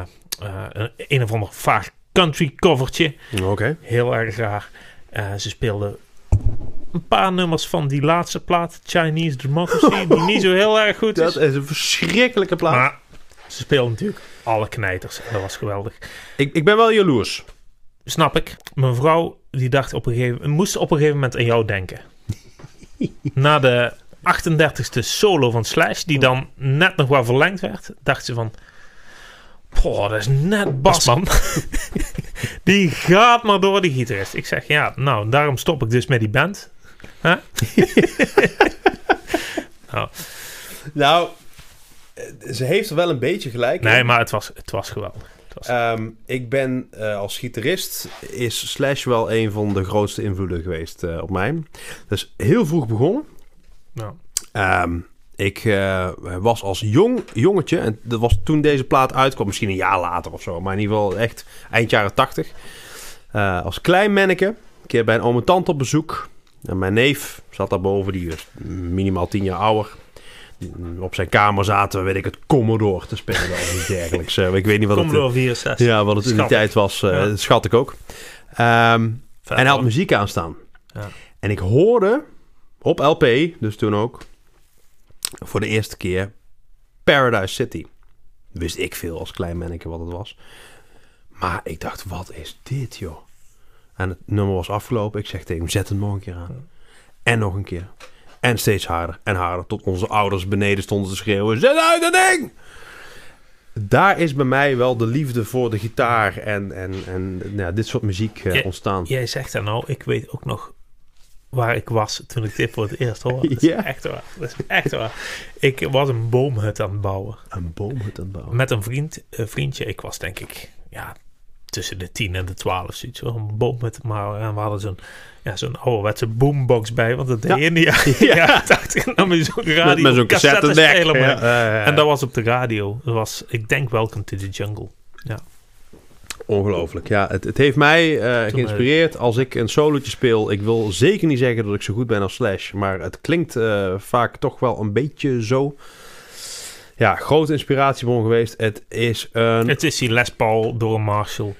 [SPEAKER 1] eh, een, een of ander vaag country covertje.
[SPEAKER 2] Oké.
[SPEAKER 1] Heel erg raar. Eh, ze speelden een paar nummers van die laatste plaat, Chinese Democracy, die niet zo heel erg goed
[SPEAKER 2] Dat
[SPEAKER 1] is.
[SPEAKER 2] is een verschrikkelijke plaat.
[SPEAKER 1] Maar ze speelden natuurlijk alle knijters. Dat was geweldig.
[SPEAKER 2] Ik, ik ben wel jaloers.
[SPEAKER 1] Snap ik. Mijn vrouw die dacht op een gegeven moest op een gegeven moment aan jou denken. Na de 38e solo van Slash, die dan net nog wel verlengd werd, dacht ze van. Boah, dat is net Bas, man. die gaat maar door, die gitarist. Ik zeg, ja, nou, daarom stop ik dus met die band. Hè?
[SPEAKER 2] Nou, ze heeft er wel een beetje gelijk
[SPEAKER 1] Nee, maar het was, het was geweldig. Het was,
[SPEAKER 2] Ehm, ik ben eh, als gitarist is Slash wel een van de grootste invloeden geweest eh, op mij. Dus heel vroeg begonnen.
[SPEAKER 1] nou,
[SPEAKER 2] Ehm, ik eh, was als jong jongetje, en dat was toen deze plaat uitkwam, misschien een jaar later of zo, maar in ieder geval echt eind jaren tachtig. eh, als klein manneke, een keer bij een oom en tante op bezoek. En mijn neef zat daarboven, die was minimaal tien jaar ouder. mm, Op zijn kamer zaten, we, weet ik het, Commodore te spelen of iets dergelijks. Eh, ik weet niet wat het
[SPEAKER 1] Commodore 64.
[SPEAKER 2] ja, wat het in die
[SPEAKER 1] Schat ik.
[SPEAKER 2] tijd was, eh,
[SPEAKER 1] Ja.
[SPEAKER 2] dat schat ik ook. Ehm,
[SPEAKER 1] Vet,
[SPEAKER 2] en hij had
[SPEAKER 1] hoor.
[SPEAKER 2] muziek aanstaan.
[SPEAKER 1] Ja.
[SPEAKER 2] En ik hoorde op LP, dus toen ook, voor de eerste keer Paradise City. Wist ik veel als klein manneke wat het was. Maar ik dacht, wat is dit, joh? En het nummer was afgelopen. Ik zeg tegen hem, zet het nog een keer aan. En nog een keer. En steeds harder en harder. Tot onze ouders beneden stonden te schreeuwen, zet uit dat ding! Daar is bij mij wel de liefde voor de gitaar en, en, en nou, ja, dit soort muziek eh,
[SPEAKER 1] Ja,
[SPEAKER 2] ontstaan.
[SPEAKER 1] Jij zegt dat nou, ik weet ook nog waar ik was toen ik dit voor het eerst hoorde. Dat is
[SPEAKER 2] Ja.
[SPEAKER 1] echt waar. Dat is echt waar. Ik was een boomhut aan het bouwen.
[SPEAKER 2] Een boom uit het bouwen.
[SPEAKER 1] Met een vriend, een vriendje. Ik was denk ik ja, tussen de 10 en de 12, zoiets. hoor. Een boomhut. Maar en we hadden zo'n ja, zo'n ouderwetse boombox bij. Want dat deed
[SPEAKER 2] Ja.
[SPEAKER 1] je in de jaren jaren 80. nam je zo'n radio.
[SPEAKER 2] Met, met zo'n cassettendek.
[SPEAKER 1] cassettespeler mee.
[SPEAKER 2] Ja, ja, ja.
[SPEAKER 1] En dat was op de radio. Dat was, ik denk, Welcome to the Jungle.
[SPEAKER 2] Ongelooflijk. Ja, het, het heeft mij eh, geïnspireerd. Als ik een solootje speel, ik wil zeker niet zeggen dat ik zo goed ben als Slash, maar het klinkt eh, vaak toch wel een beetje zo. Ja, grote inspiratiebron geweest. Het is een...
[SPEAKER 1] Het is die Les Paul door Marshall.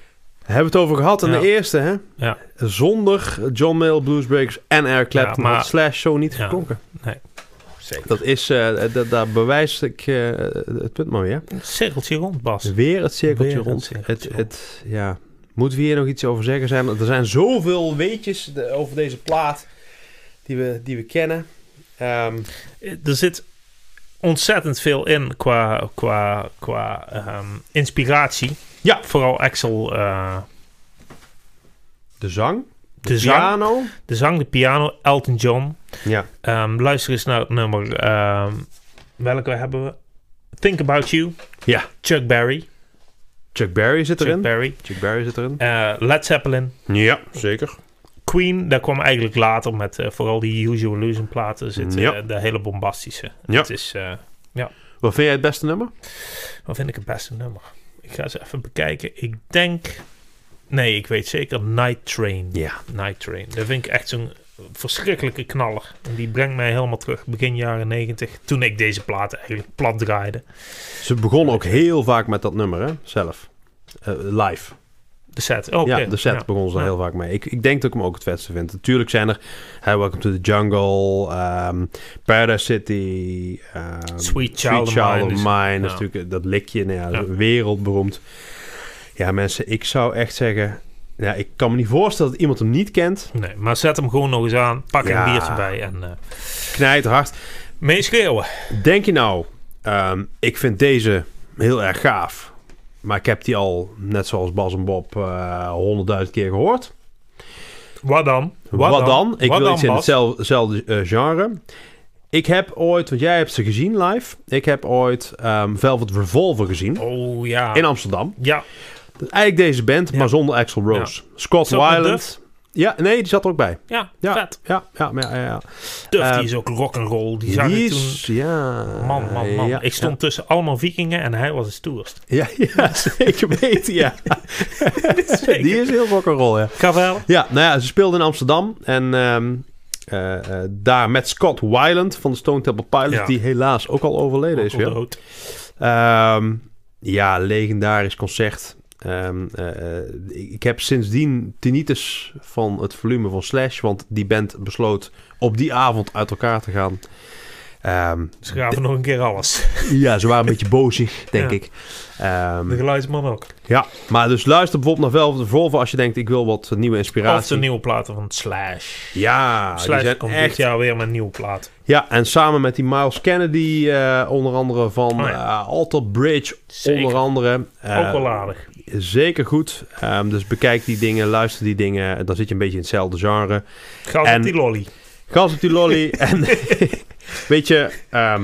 [SPEAKER 2] Hebben we het over gehad in
[SPEAKER 1] Ja.
[SPEAKER 2] de eerste, hè?
[SPEAKER 1] Ja.
[SPEAKER 2] Zonder John Mayle, Bluesbreakers en Eric Clapton
[SPEAKER 1] Ja, maar-
[SPEAKER 2] had Slash zo niet
[SPEAKER 1] Ja.
[SPEAKER 2] geklonken.
[SPEAKER 1] Zeker.
[SPEAKER 2] Dat is, eh, dat- daar bewijs ik eh, het punt maar weer.
[SPEAKER 1] Een cirkeltje rond, Bas.
[SPEAKER 2] Weer het cirkeltje
[SPEAKER 1] Weer het
[SPEAKER 2] rond.
[SPEAKER 1] cirkeltje rond.
[SPEAKER 2] het, het, ja. Moeten we hier nog iets over zeggen? Zijn, er zijn zoveel weetjes de- over deze plaat die we, die we kennen. Ehm,
[SPEAKER 1] Eh, Er zit ontzettend veel in qua, qua, qua ehm, inspiratie.
[SPEAKER 2] Ja.
[SPEAKER 1] Vooral Axel, eh,
[SPEAKER 2] de zang,
[SPEAKER 1] de, zang,
[SPEAKER 2] piano.
[SPEAKER 1] de zang, de piano, Elton John.
[SPEAKER 2] Ja.
[SPEAKER 1] Ehm, luister eens naar het nummer. ehm, welke hebben we? Think About You.
[SPEAKER 2] Ja.
[SPEAKER 1] Chuck Berry.
[SPEAKER 2] Chuck Berry zit
[SPEAKER 1] Chuck
[SPEAKER 2] erin.
[SPEAKER 1] Berry.
[SPEAKER 2] Chuck Berry zit erin.
[SPEAKER 1] Eh, Led Zeppelin.
[SPEAKER 2] Ja, zeker.
[SPEAKER 1] Queen, daar kwam eigenlijk later met eh, vooral die Usual Illusion platen zitten.
[SPEAKER 2] Ja.
[SPEAKER 1] eh, de hele bombastische.
[SPEAKER 2] Ja.
[SPEAKER 1] Het is, eh,
[SPEAKER 2] Wat vind jij het beste nummer?
[SPEAKER 1] Wat vind ik het beste nummer? Ik ga eens even bekijken. Ik denk. Nee, ik weet zeker Night Train.
[SPEAKER 2] Ja.
[SPEAKER 1] Night Train. Dat vind ik echt zo'n verschrikkelijke knaller. En die brengt mij helemaal terug. Begin jaren 90, Toen ik deze platen eigenlijk plat draaide.
[SPEAKER 2] Ze begonnen ook heel vaak met dat nummer, hè? Zelf. Eh, live.
[SPEAKER 1] De set. Oh,
[SPEAKER 2] Ja, de set begon ze
[SPEAKER 1] Ja.
[SPEAKER 2] heel vaak mee. Ik, ik denk dat ik hem ook het vetste vind. Natuurlijk zijn er hè, Welcome to the Jungle, ehm, Paradise City, ehm,
[SPEAKER 1] Sweet Child of Mine is-
[SPEAKER 2] Mine. Dat, is
[SPEAKER 1] ja.
[SPEAKER 2] natuurlijk, dat likje, nou ja,
[SPEAKER 1] Ja.
[SPEAKER 2] dat is wereldberoemd. Ja, mensen, ik zou echt zeggen... Ja, ik kan me niet voorstellen dat iemand hem niet kent.
[SPEAKER 1] Nee, maar zet hem gewoon nog eens aan. Pak er
[SPEAKER 2] Ja.
[SPEAKER 1] een biertje bij en eh
[SPEAKER 2] Knijt hard.
[SPEAKER 1] mee schreeuwen.
[SPEAKER 2] Denk je nou, ehm, ik vind deze heel erg gaaf. Maar ik heb die al, net zoals Bas en Bob, eh, honderdduizend keer gehoord.
[SPEAKER 1] Wat dan?
[SPEAKER 2] Wat, dan? Ik
[SPEAKER 1] Wat
[SPEAKER 2] wil
[SPEAKER 1] dan,
[SPEAKER 2] iets in
[SPEAKER 1] Bas?
[SPEAKER 2] hetzelfde hetzelfde, eh, genre. Ik heb ooit, want jij hebt ze gezien live. Ik heb ooit ehm, Velvet Revolver gezien.
[SPEAKER 1] Oh ja.
[SPEAKER 2] In Amsterdam.
[SPEAKER 1] ja,
[SPEAKER 2] Dat is eigenlijk deze band,
[SPEAKER 1] Ja.
[SPEAKER 2] maar zonder Axel Rose. Scott
[SPEAKER 1] Zat met
[SPEAKER 2] Weiland. Ja, nee, die zat er ook bij.
[SPEAKER 1] ja,
[SPEAKER 2] Ja.
[SPEAKER 1] vet.
[SPEAKER 2] Ja, ja, ja. ja, ja.
[SPEAKER 1] Duff,
[SPEAKER 2] Eh,
[SPEAKER 1] die is ook rock'n'roll. Die zag
[SPEAKER 2] Die
[SPEAKER 1] ik toen...
[SPEAKER 2] is- ja.
[SPEAKER 1] Man, man, man.
[SPEAKER 2] Ja,
[SPEAKER 1] ik stond tussen allemaal vikingen en hij was het stoerst.
[SPEAKER 2] Ja, ja, ja, zeker weten, ja.
[SPEAKER 1] Zeker.
[SPEAKER 2] Die is heel rock'n'roll, ja.
[SPEAKER 1] Cavell.
[SPEAKER 2] Ja, nou ja, ze speelden in Amsterdam. En ehm, eh, eh, daar met Scott Weiland van de Stone Temple Pilots...
[SPEAKER 1] Ja.
[SPEAKER 2] die helaas ook al overleden is
[SPEAKER 1] Onkel
[SPEAKER 2] weer.
[SPEAKER 1] Dood.
[SPEAKER 2] Ehm, ja, legendarisch concert. Ehm, eh, eh, ik heb sindsdien tinnitus van het volume van Slash... want die band besloot op die avond uit elkaar te gaan. Ehm,
[SPEAKER 1] Ze gaven nog een keer alles.
[SPEAKER 2] ja, ze waren een beetje bozig, denk
[SPEAKER 1] Ja.
[SPEAKER 2] ik. Ehm,
[SPEAKER 1] De geluidsman ook.
[SPEAKER 2] ja, maar dus luister bijvoorbeeld naar Velvet Revolver... als je denkt, ik wil wat nieuwe
[SPEAKER 1] Of
[SPEAKER 2] inspiratie.
[SPEAKER 1] de nieuwe platen van Slash.
[SPEAKER 2] Ja, Ah, die
[SPEAKER 1] Slash
[SPEAKER 2] zijn
[SPEAKER 1] komt
[SPEAKER 2] echt
[SPEAKER 1] dit jaar weer met een nieuwe plaat.
[SPEAKER 2] Ja, en samen met die Miles Kennedy, eh, onder andere van
[SPEAKER 1] Oh
[SPEAKER 2] eh
[SPEAKER 1] ja.
[SPEAKER 2] Alter Bridge,
[SPEAKER 1] Zeker.
[SPEAKER 2] onder andere. Eh,
[SPEAKER 1] ook wel aardig.
[SPEAKER 2] Zeker goed. Ehm, dus bekijk die dingen, luister die dingen. Dan zit je een beetje in hetzelfde genre.
[SPEAKER 1] Gaat
[SPEAKER 2] en-
[SPEAKER 1] op die lolly.
[SPEAKER 2] Gas op die lolly. en weet je, ehm,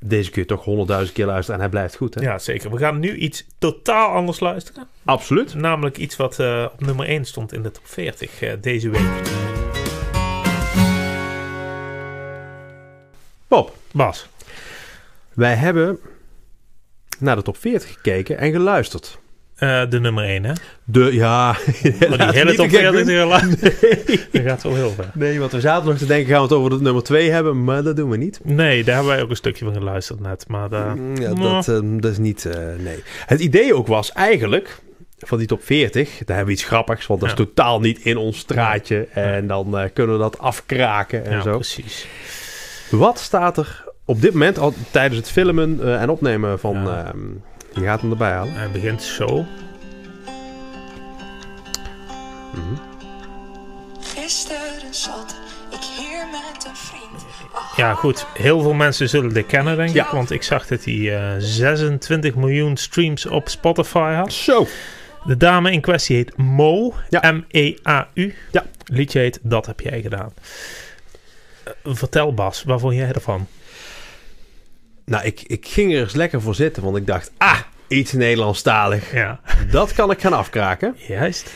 [SPEAKER 2] deze kun je toch honderdduizend keer luisteren en hij blijft goed, hè?
[SPEAKER 1] Ja, zeker. We gaan nu iets totaal anders luisteren.
[SPEAKER 2] Absoluut.
[SPEAKER 1] Namelijk iets wat eh, op nummer 1 stond in de top 40 eh, deze week.
[SPEAKER 2] Bob,
[SPEAKER 1] Bas.
[SPEAKER 2] wij hebben naar de top 40 gekeken en geluisterd.
[SPEAKER 1] eh, de nummer 1, hè?
[SPEAKER 2] De, ja...
[SPEAKER 1] Maar die hele top 40
[SPEAKER 2] 40.
[SPEAKER 1] die geluid- Dat gaat wel heel ver.
[SPEAKER 2] Nee, want we zaten nog te denken, gaan we het over de nummer 2 hebben? Maar dat doen we niet.
[SPEAKER 1] Nee, daar hebben wij ook een stukje van geluisterd net. Maar eh, daar...
[SPEAKER 2] Mm, ja,
[SPEAKER 1] mwah.
[SPEAKER 2] dat, ehm, dat is niet. eh, nee. Het idee ook was eigenlijk. Van die top 40, daar hebben we iets grappigs, want dat
[SPEAKER 1] Ja.
[SPEAKER 2] is totaal niet in ons straatje. En dan eh, kunnen we dat afkraken en
[SPEAKER 1] ja,
[SPEAKER 2] zo.
[SPEAKER 1] precies.
[SPEAKER 2] Wat staat er op dit moment, al tijdens het filmen eh, en opnemen van.
[SPEAKER 1] Ja.
[SPEAKER 2] ehm, je gaat hem erbij halen.
[SPEAKER 1] Hij begint zo.
[SPEAKER 4] Gisteren zat ik hier met een vriend. Oh.
[SPEAKER 1] Ja, goed. Heel veel mensen zullen dit kennen, denk
[SPEAKER 2] Ja.
[SPEAKER 1] ik. Want ik zag dat hij eh, 26 miljoen streams op Spotify had.
[SPEAKER 2] Zo!
[SPEAKER 1] De dame in kwestie heet Mo. E
[SPEAKER 2] Ja.
[SPEAKER 1] M-E-A-U.
[SPEAKER 2] Ja.
[SPEAKER 1] Liedje heet Dat heb jij gedaan. Eh, vertel Bas, waar vond jij ervan?
[SPEAKER 2] Nou, ik, ik ging er eens lekker voor zitten, want ik dacht, ah, iets Nederlandstalig.
[SPEAKER 1] Ja.
[SPEAKER 2] Dat kan ik gaan afkraken.
[SPEAKER 1] Juist.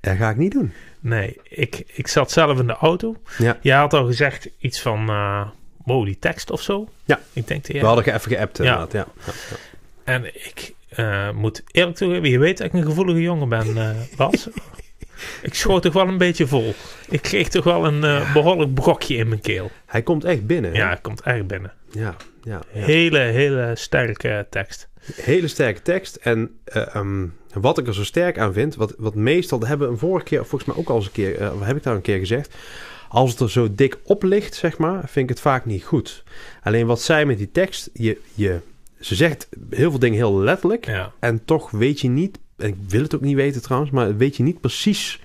[SPEAKER 2] Dat ga ik niet doen.
[SPEAKER 1] Nee, ik, ik zat zelf in de auto.
[SPEAKER 2] Ja.
[SPEAKER 1] Jij had al gezegd iets van... eh wow, die tekst of zo.
[SPEAKER 2] Ja.
[SPEAKER 1] Ik denk dat
[SPEAKER 2] We
[SPEAKER 1] jij...
[SPEAKER 2] hadden ge- even geappt inderdaad. Ja.
[SPEAKER 1] En ik... eh, moet eerlijk toegeven, je weet dat ik een gevoelige jongen ben, eh, Bas. ik schoot toch wel een beetje vol. Ik kreeg toch wel een eh, behoorlijk brokje in mijn keel.
[SPEAKER 2] Hij komt echt binnen. hè?
[SPEAKER 1] Ja, het komt erg binnen.
[SPEAKER 2] Ja, ja, ja.
[SPEAKER 1] Hele, hele sterke tekst.
[SPEAKER 2] Hele sterke tekst. En eh, ehm, wat ik er zo sterk aan vind, wat, wat meestal, dat hebben we een vorige keer, volgens mij ook al eens een keer, eh, heb ik daar een keer gezegd. Als het er zo dik op ligt, zeg maar, vind ik het vaak niet goed. Alleen wat zij met die tekst, je, je, ze zegt heel veel dingen heel letterlijk.
[SPEAKER 1] Ja.
[SPEAKER 2] En toch weet je niet, en ik wil het ook niet weten trouwens, maar weet je niet precies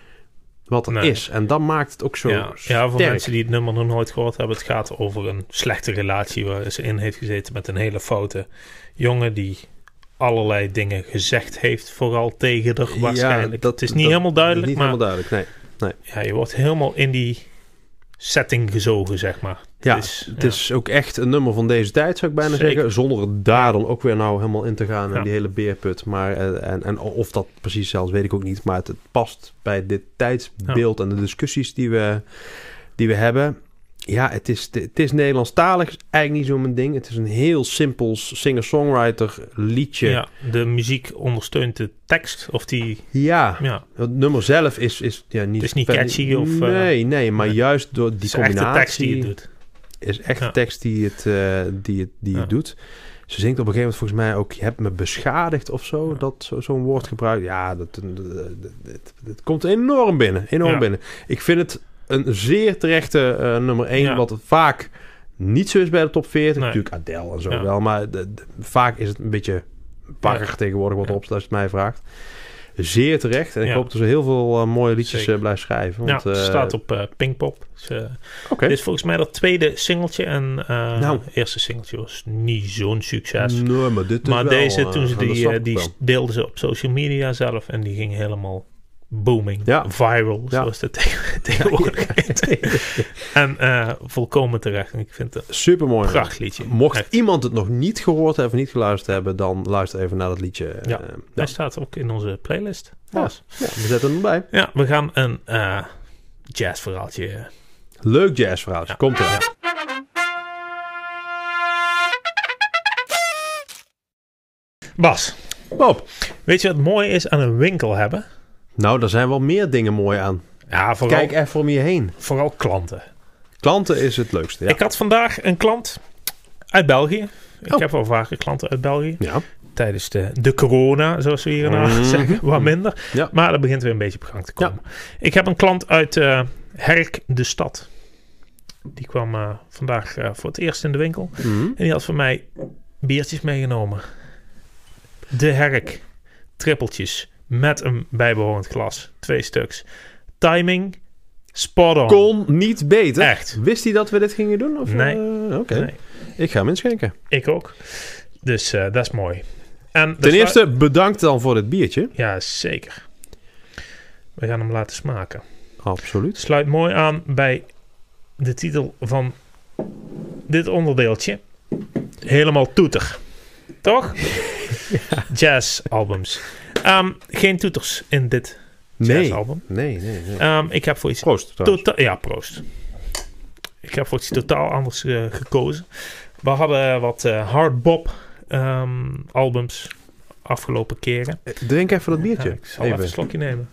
[SPEAKER 2] wat er
[SPEAKER 1] Nee.
[SPEAKER 2] is. En dat maakt het ook zo
[SPEAKER 1] Ja. ja,
[SPEAKER 2] sterk.
[SPEAKER 1] voor mensen die het nummer nog nooit gehoord hebben, het gaat over een slechte relatie waar ze in heeft gezeten met een hele foute jongen die allerlei dingen gezegd heeft, vooral tegen haar waarschijnlijk. het is niet
[SPEAKER 2] dat-
[SPEAKER 1] helemaal duidelijk,
[SPEAKER 2] Niet
[SPEAKER 1] maar
[SPEAKER 2] helemaal duidelijk, nee.
[SPEAKER 1] Ja, je wordt helemaal in die setting gezogen, zeg maar.
[SPEAKER 2] Ja,
[SPEAKER 1] het is,
[SPEAKER 2] het
[SPEAKER 1] ja.
[SPEAKER 2] is ook echt een nummer van deze tijd, zou ik bijna
[SPEAKER 1] Zeker.
[SPEAKER 2] zeggen. Zonder het daar dan ook weer nou helemaal in te gaan en
[SPEAKER 1] Ja.
[SPEAKER 2] die hele beerput. Maar, eh, en, en of dat precies zelfs, weet ik ook niet. Maar het, het past bij dit tijdsbeeld en de discussies die we, die we hebben. Ja, het is, het is Nederlandstalig, is eigenlijk niet zo mijn ding. Het is een heel simpel singer-songwriter liedje. Ja,
[SPEAKER 1] Ja, de muziek ondersteunt de tekst. Of die, ja,
[SPEAKER 2] het nummer zelf is, is ja, niet...
[SPEAKER 1] Het is niet
[SPEAKER 2] verder-
[SPEAKER 1] catchy of, eh,
[SPEAKER 2] Nee, nee, maar
[SPEAKER 1] nee.
[SPEAKER 2] juist door die
[SPEAKER 1] die is echt
[SPEAKER 2] combinatie...
[SPEAKER 1] de tekst die het doet.
[SPEAKER 2] is echt
[SPEAKER 1] Ja.
[SPEAKER 2] de tekst die het, eh, die het, die het
[SPEAKER 1] Ja.
[SPEAKER 2] doet. Ze zingt op een gegeven moment volgens mij ook... je hebt me beschadigd of zo, dat zo- zo'n woord gebruikt. Ja, dat, dat, dat- dat- dat komt enorm binnen. Enorm
[SPEAKER 1] Ja.
[SPEAKER 2] binnen. Ik vind het een zeer terechte eh, nummer 1...
[SPEAKER 1] Ja.
[SPEAKER 2] wat vaak niet zo is bij de top 40.
[SPEAKER 1] Nee.
[SPEAKER 2] Natuurlijk Adele en zo
[SPEAKER 1] Ja.
[SPEAKER 2] wel, maar de- de- vaak is het een beetje barrig tegenwoordig... wat
[SPEAKER 1] Ja.
[SPEAKER 2] erop staat, als je het mij vraagt. Zeer terecht. En ik
[SPEAKER 1] Ja.
[SPEAKER 2] hoop dat ze heel veel eh, mooie liedjes
[SPEAKER 1] Zeker.
[SPEAKER 2] eh, blijft schrijven.
[SPEAKER 1] Ja,
[SPEAKER 2] Want,
[SPEAKER 1] het
[SPEAKER 2] eh,
[SPEAKER 1] staat op eh, Pinkpop. Dus, eh,
[SPEAKER 2] oké.
[SPEAKER 1] Dit is volgens mij dat tweede singeltje. En eh
[SPEAKER 2] Nou.
[SPEAKER 1] het eerste singeltje was niet zo'n succes.
[SPEAKER 2] Nee, maar dit is
[SPEAKER 1] maar
[SPEAKER 2] wel,
[SPEAKER 1] deze,
[SPEAKER 2] eh,
[SPEAKER 1] toen ze
[SPEAKER 2] dat
[SPEAKER 1] die,
[SPEAKER 2] snap
[SPEAKER 1] eh,
[SPEAKER 2] ik
[SPEAKER 1] die
[SPEAKER 2] wel.
[SPEAKER 1] deelden ze op social media zelf. En die ging helemaal booming.
[SPEAKER 2] Ja.
[SPEAKER 1] Viral,
[SPEAKER 2] Ja.
[SPEAKER 1] zoals dat tegen- tegenwoordig heet. En eh, volkomen terecht. En ik vind het
[SPEAKER 2] Supermooi.
[SPEAKER 1] een prachtliedje.
[SPEAKER 2] Mocht
[SPEAKER 1] Echt.
[SPEAKER 2] iemand het nog niet gehoord hebben of niet geluisterd hebben, dan luister even naar dat liedje.
[SPEAKER 1] Ja.
[SPEAKER 2] Eh,
[SPEAKER 1] Hij staat ook in onze playlist.
[SPEAKER 2] Ja.
[SPEAKER 1] Bas.
[SPEAKER 2] Ja, we zetten hem erbij.
[SPEAKER 1] Ja, we gaan een eh jazzverhaaltje. eh,
[SPEAKER 2] Leuk jazzverhaal.
[SPEAKER 1] Ja.
[SPEAKER 2] Komt er.
[SPEAKER 1] Ja. Bas,
[SPEAKER 2] Bob.
[SPEAKER 1] weet je wat mooi is aan een winkel hebben?
[SPEAKER 2] Nou, daar zijn wel meer dingen mooi aan.
[SPEAKER 1] Ja, vooral,
[SPEAKER 2] Kijk even om je heen.
[SPEAKER 1] vooral klanten.
[SPEAKER 2] Klanten is het leukste. Ja.
[SPEAKER 1] Ik had vandaag een klant uit België. Ik
[SPEAKER 2] Oh.
[SPEAKER 1] heb al vaker klanten uit België.
[SPEAKER 2] ja.
[SPEAKER 1] Tijdens de, de corona, zoals we hier in Haag
[SPEAKER 2] Mhm.
[SPEAKER 1] zeggen, wat minder.
[SPEAKER 2] Ja.
[SPEAKER 1] Maar dat begint weer een beetje op gang te
[SPEAKER 2] Ja.
[SPEAKER 1] komen. Ik heb een klant uit eh, Herk de Stad. Die kwam eh, vandaag eh, voor het eerst in de winkel.
[SPEAKER 2] Mhm.
[SPEAKER 1] En die had voor mij biertjes meegenomen. De herk. Trippeltjes. Met een bijbehorend glas. Twee stuks. Timing. Spot on.
[SPEAKER 2] Kon niet beter.
[SPEAKER 1] Echt.
[SPEAKER 2] Wist hij dat we dit gingen doen? Of,
[SPEAKER 1] Nee.
[SPEAKER 2] eh, Oké.
[SPEAKER 1] Nee,
[SPEAKER 2] Ik ga hem inschenken.
[SPEAKER 1] ik ook. Dus eh, dat is mooi. En dat
[SPEAKER 2] Ten
[SPEAKER 1] is
[SPEAKER 2] eerste, bedankt dan voor dit biertje.
[SPEAKER 1] wel- Ja, zeker. We gaan hem laten smaken.
[SPEAKER 2] Absoluut.
[SPEAKER 1] Sluit mooi aan bij de titel van dit onderdeeltje. Helemaal toeter. Toch? Jazzalbums. Ehm, geen toeters in dit
[SPEAKER 2] Nee.
[SPEAKER 1] jazzalbum.
[SPEAKER 2] Nee, nee, nee.
[SPEAKER 1] Ehm, ik heb voor iets
[SPEAKER 2] Proost. trouwens.
[SPEAKER 1] totaal... Ja, proost. Ik heb voor iets totaal anders eh, gekozen. We hadden wat eh hardbop ehm, albums afgelopen keren.
[SPEAKER 2] Eh, Drink even dat
[SPEAKER 1] Ja,
[SPEAKER 2] biertje.
[SPEAKER 1] ik zal even een slokje nemen.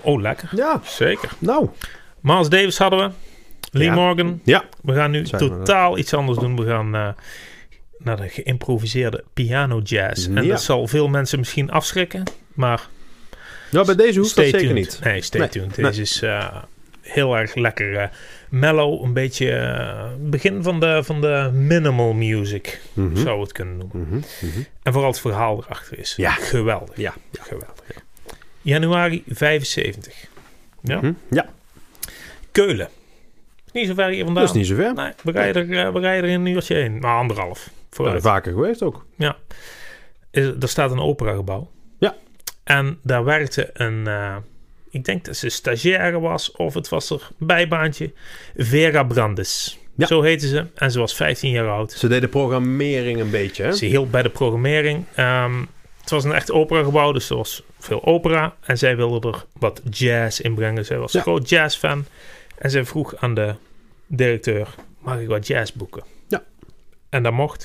[SPEAKER 1] Oh, lekker.
[SPEAKER 2] Ja,
[SPEAKER 1] Zeker.
[SPEAKER 2] nou.
[SPEAKER 1] Miles Davis hadden we. Lee
[SPEAKER 2] Ja.
[SPEAKER 1] Morgan.
[SPEAKER 2] Ja.
[SPEAKER 1] We gaan nu
[SPEAKER 2] Zijn we
[SPEAKER 1] totaal iets anders doen. We gaan eh, naar de geïmproviseerde piano jazz. En
[SPEAKER 2] Ja.
[SPEAKER 1] dat zal veel mensen misschien afschrikken. Maar
[SPEAKER 2] Ja, bij deze hoeft dat zeker
[SPEAKER 1] tuned.
[SPEAKER 2] niet.
[SPEAKER 1] Nee, stay
[SPEAKER 2] Nee,
[SPEAKER 1] tuned.
[SPEAKER 2] nee.
[SPEAKER 1] Deze is eh, heel erg lekker eh, mellow. Een beetje eh, begin van de, van de minimal music.
[SPEAKER 2] Mhm.
[SPEAKER 1] Zou het kunnen noemen.
[SPEAKER 2] Mhm, mhm.
[SPEAKER 1] En vooral het verhaal erachter is.
[SPEAKER 2] Ja.
[SPEAKER 1] Geweldig.
[SPEAKER 2] Ja,
[SPEAKER 1] Geweldig. Januari 75. Ja.
[SPEAKER 2] Hm? Ja,
[SPEAKER 1] Keulen. Is Niet zo ver hier vandaan.
[SPEAKER 2] dat is niet zo ver.
[SPEAKER 1] Nee, we rijden, er, eh, we rijden er in een uurtje heen. Nou, anderhalf.
[SPEAKER 2] Nou,
[SPEAKER 1] Vooruit.
[SPEAKER 2] vaker geweest ook.
[SPEAKER 1] Is- er staat een operagebouw.
[SPEAKER 2] Ja.
[SPEAKER 1] En daar werkte een... eh, ik denk dat ze stagiaire was. Of het was er bijbaantje. Vera Brandes.
[SPEAKER 2] Ja.
[SPEAKER 1] Zo heette ze. En ze was 15 jaar oud.
[SPEAKER 2] Ze deden programmering een beetje, hè?
[SPEAKER 1] Ze hielp bij de programmering. Ehm, het was een echt operagebouw. Dus er was veel opera. En zij wilde er wat jazz in brengen. Zij was
[SPEAKER 2] Ja.
[SPEAKER 1] een groot jazzfan. En zij vroeg aan de directeur... Mag ik wat jazz boeken?
[SPEAKER 2] Ja.
[SPEAKER 1] En dat mocht.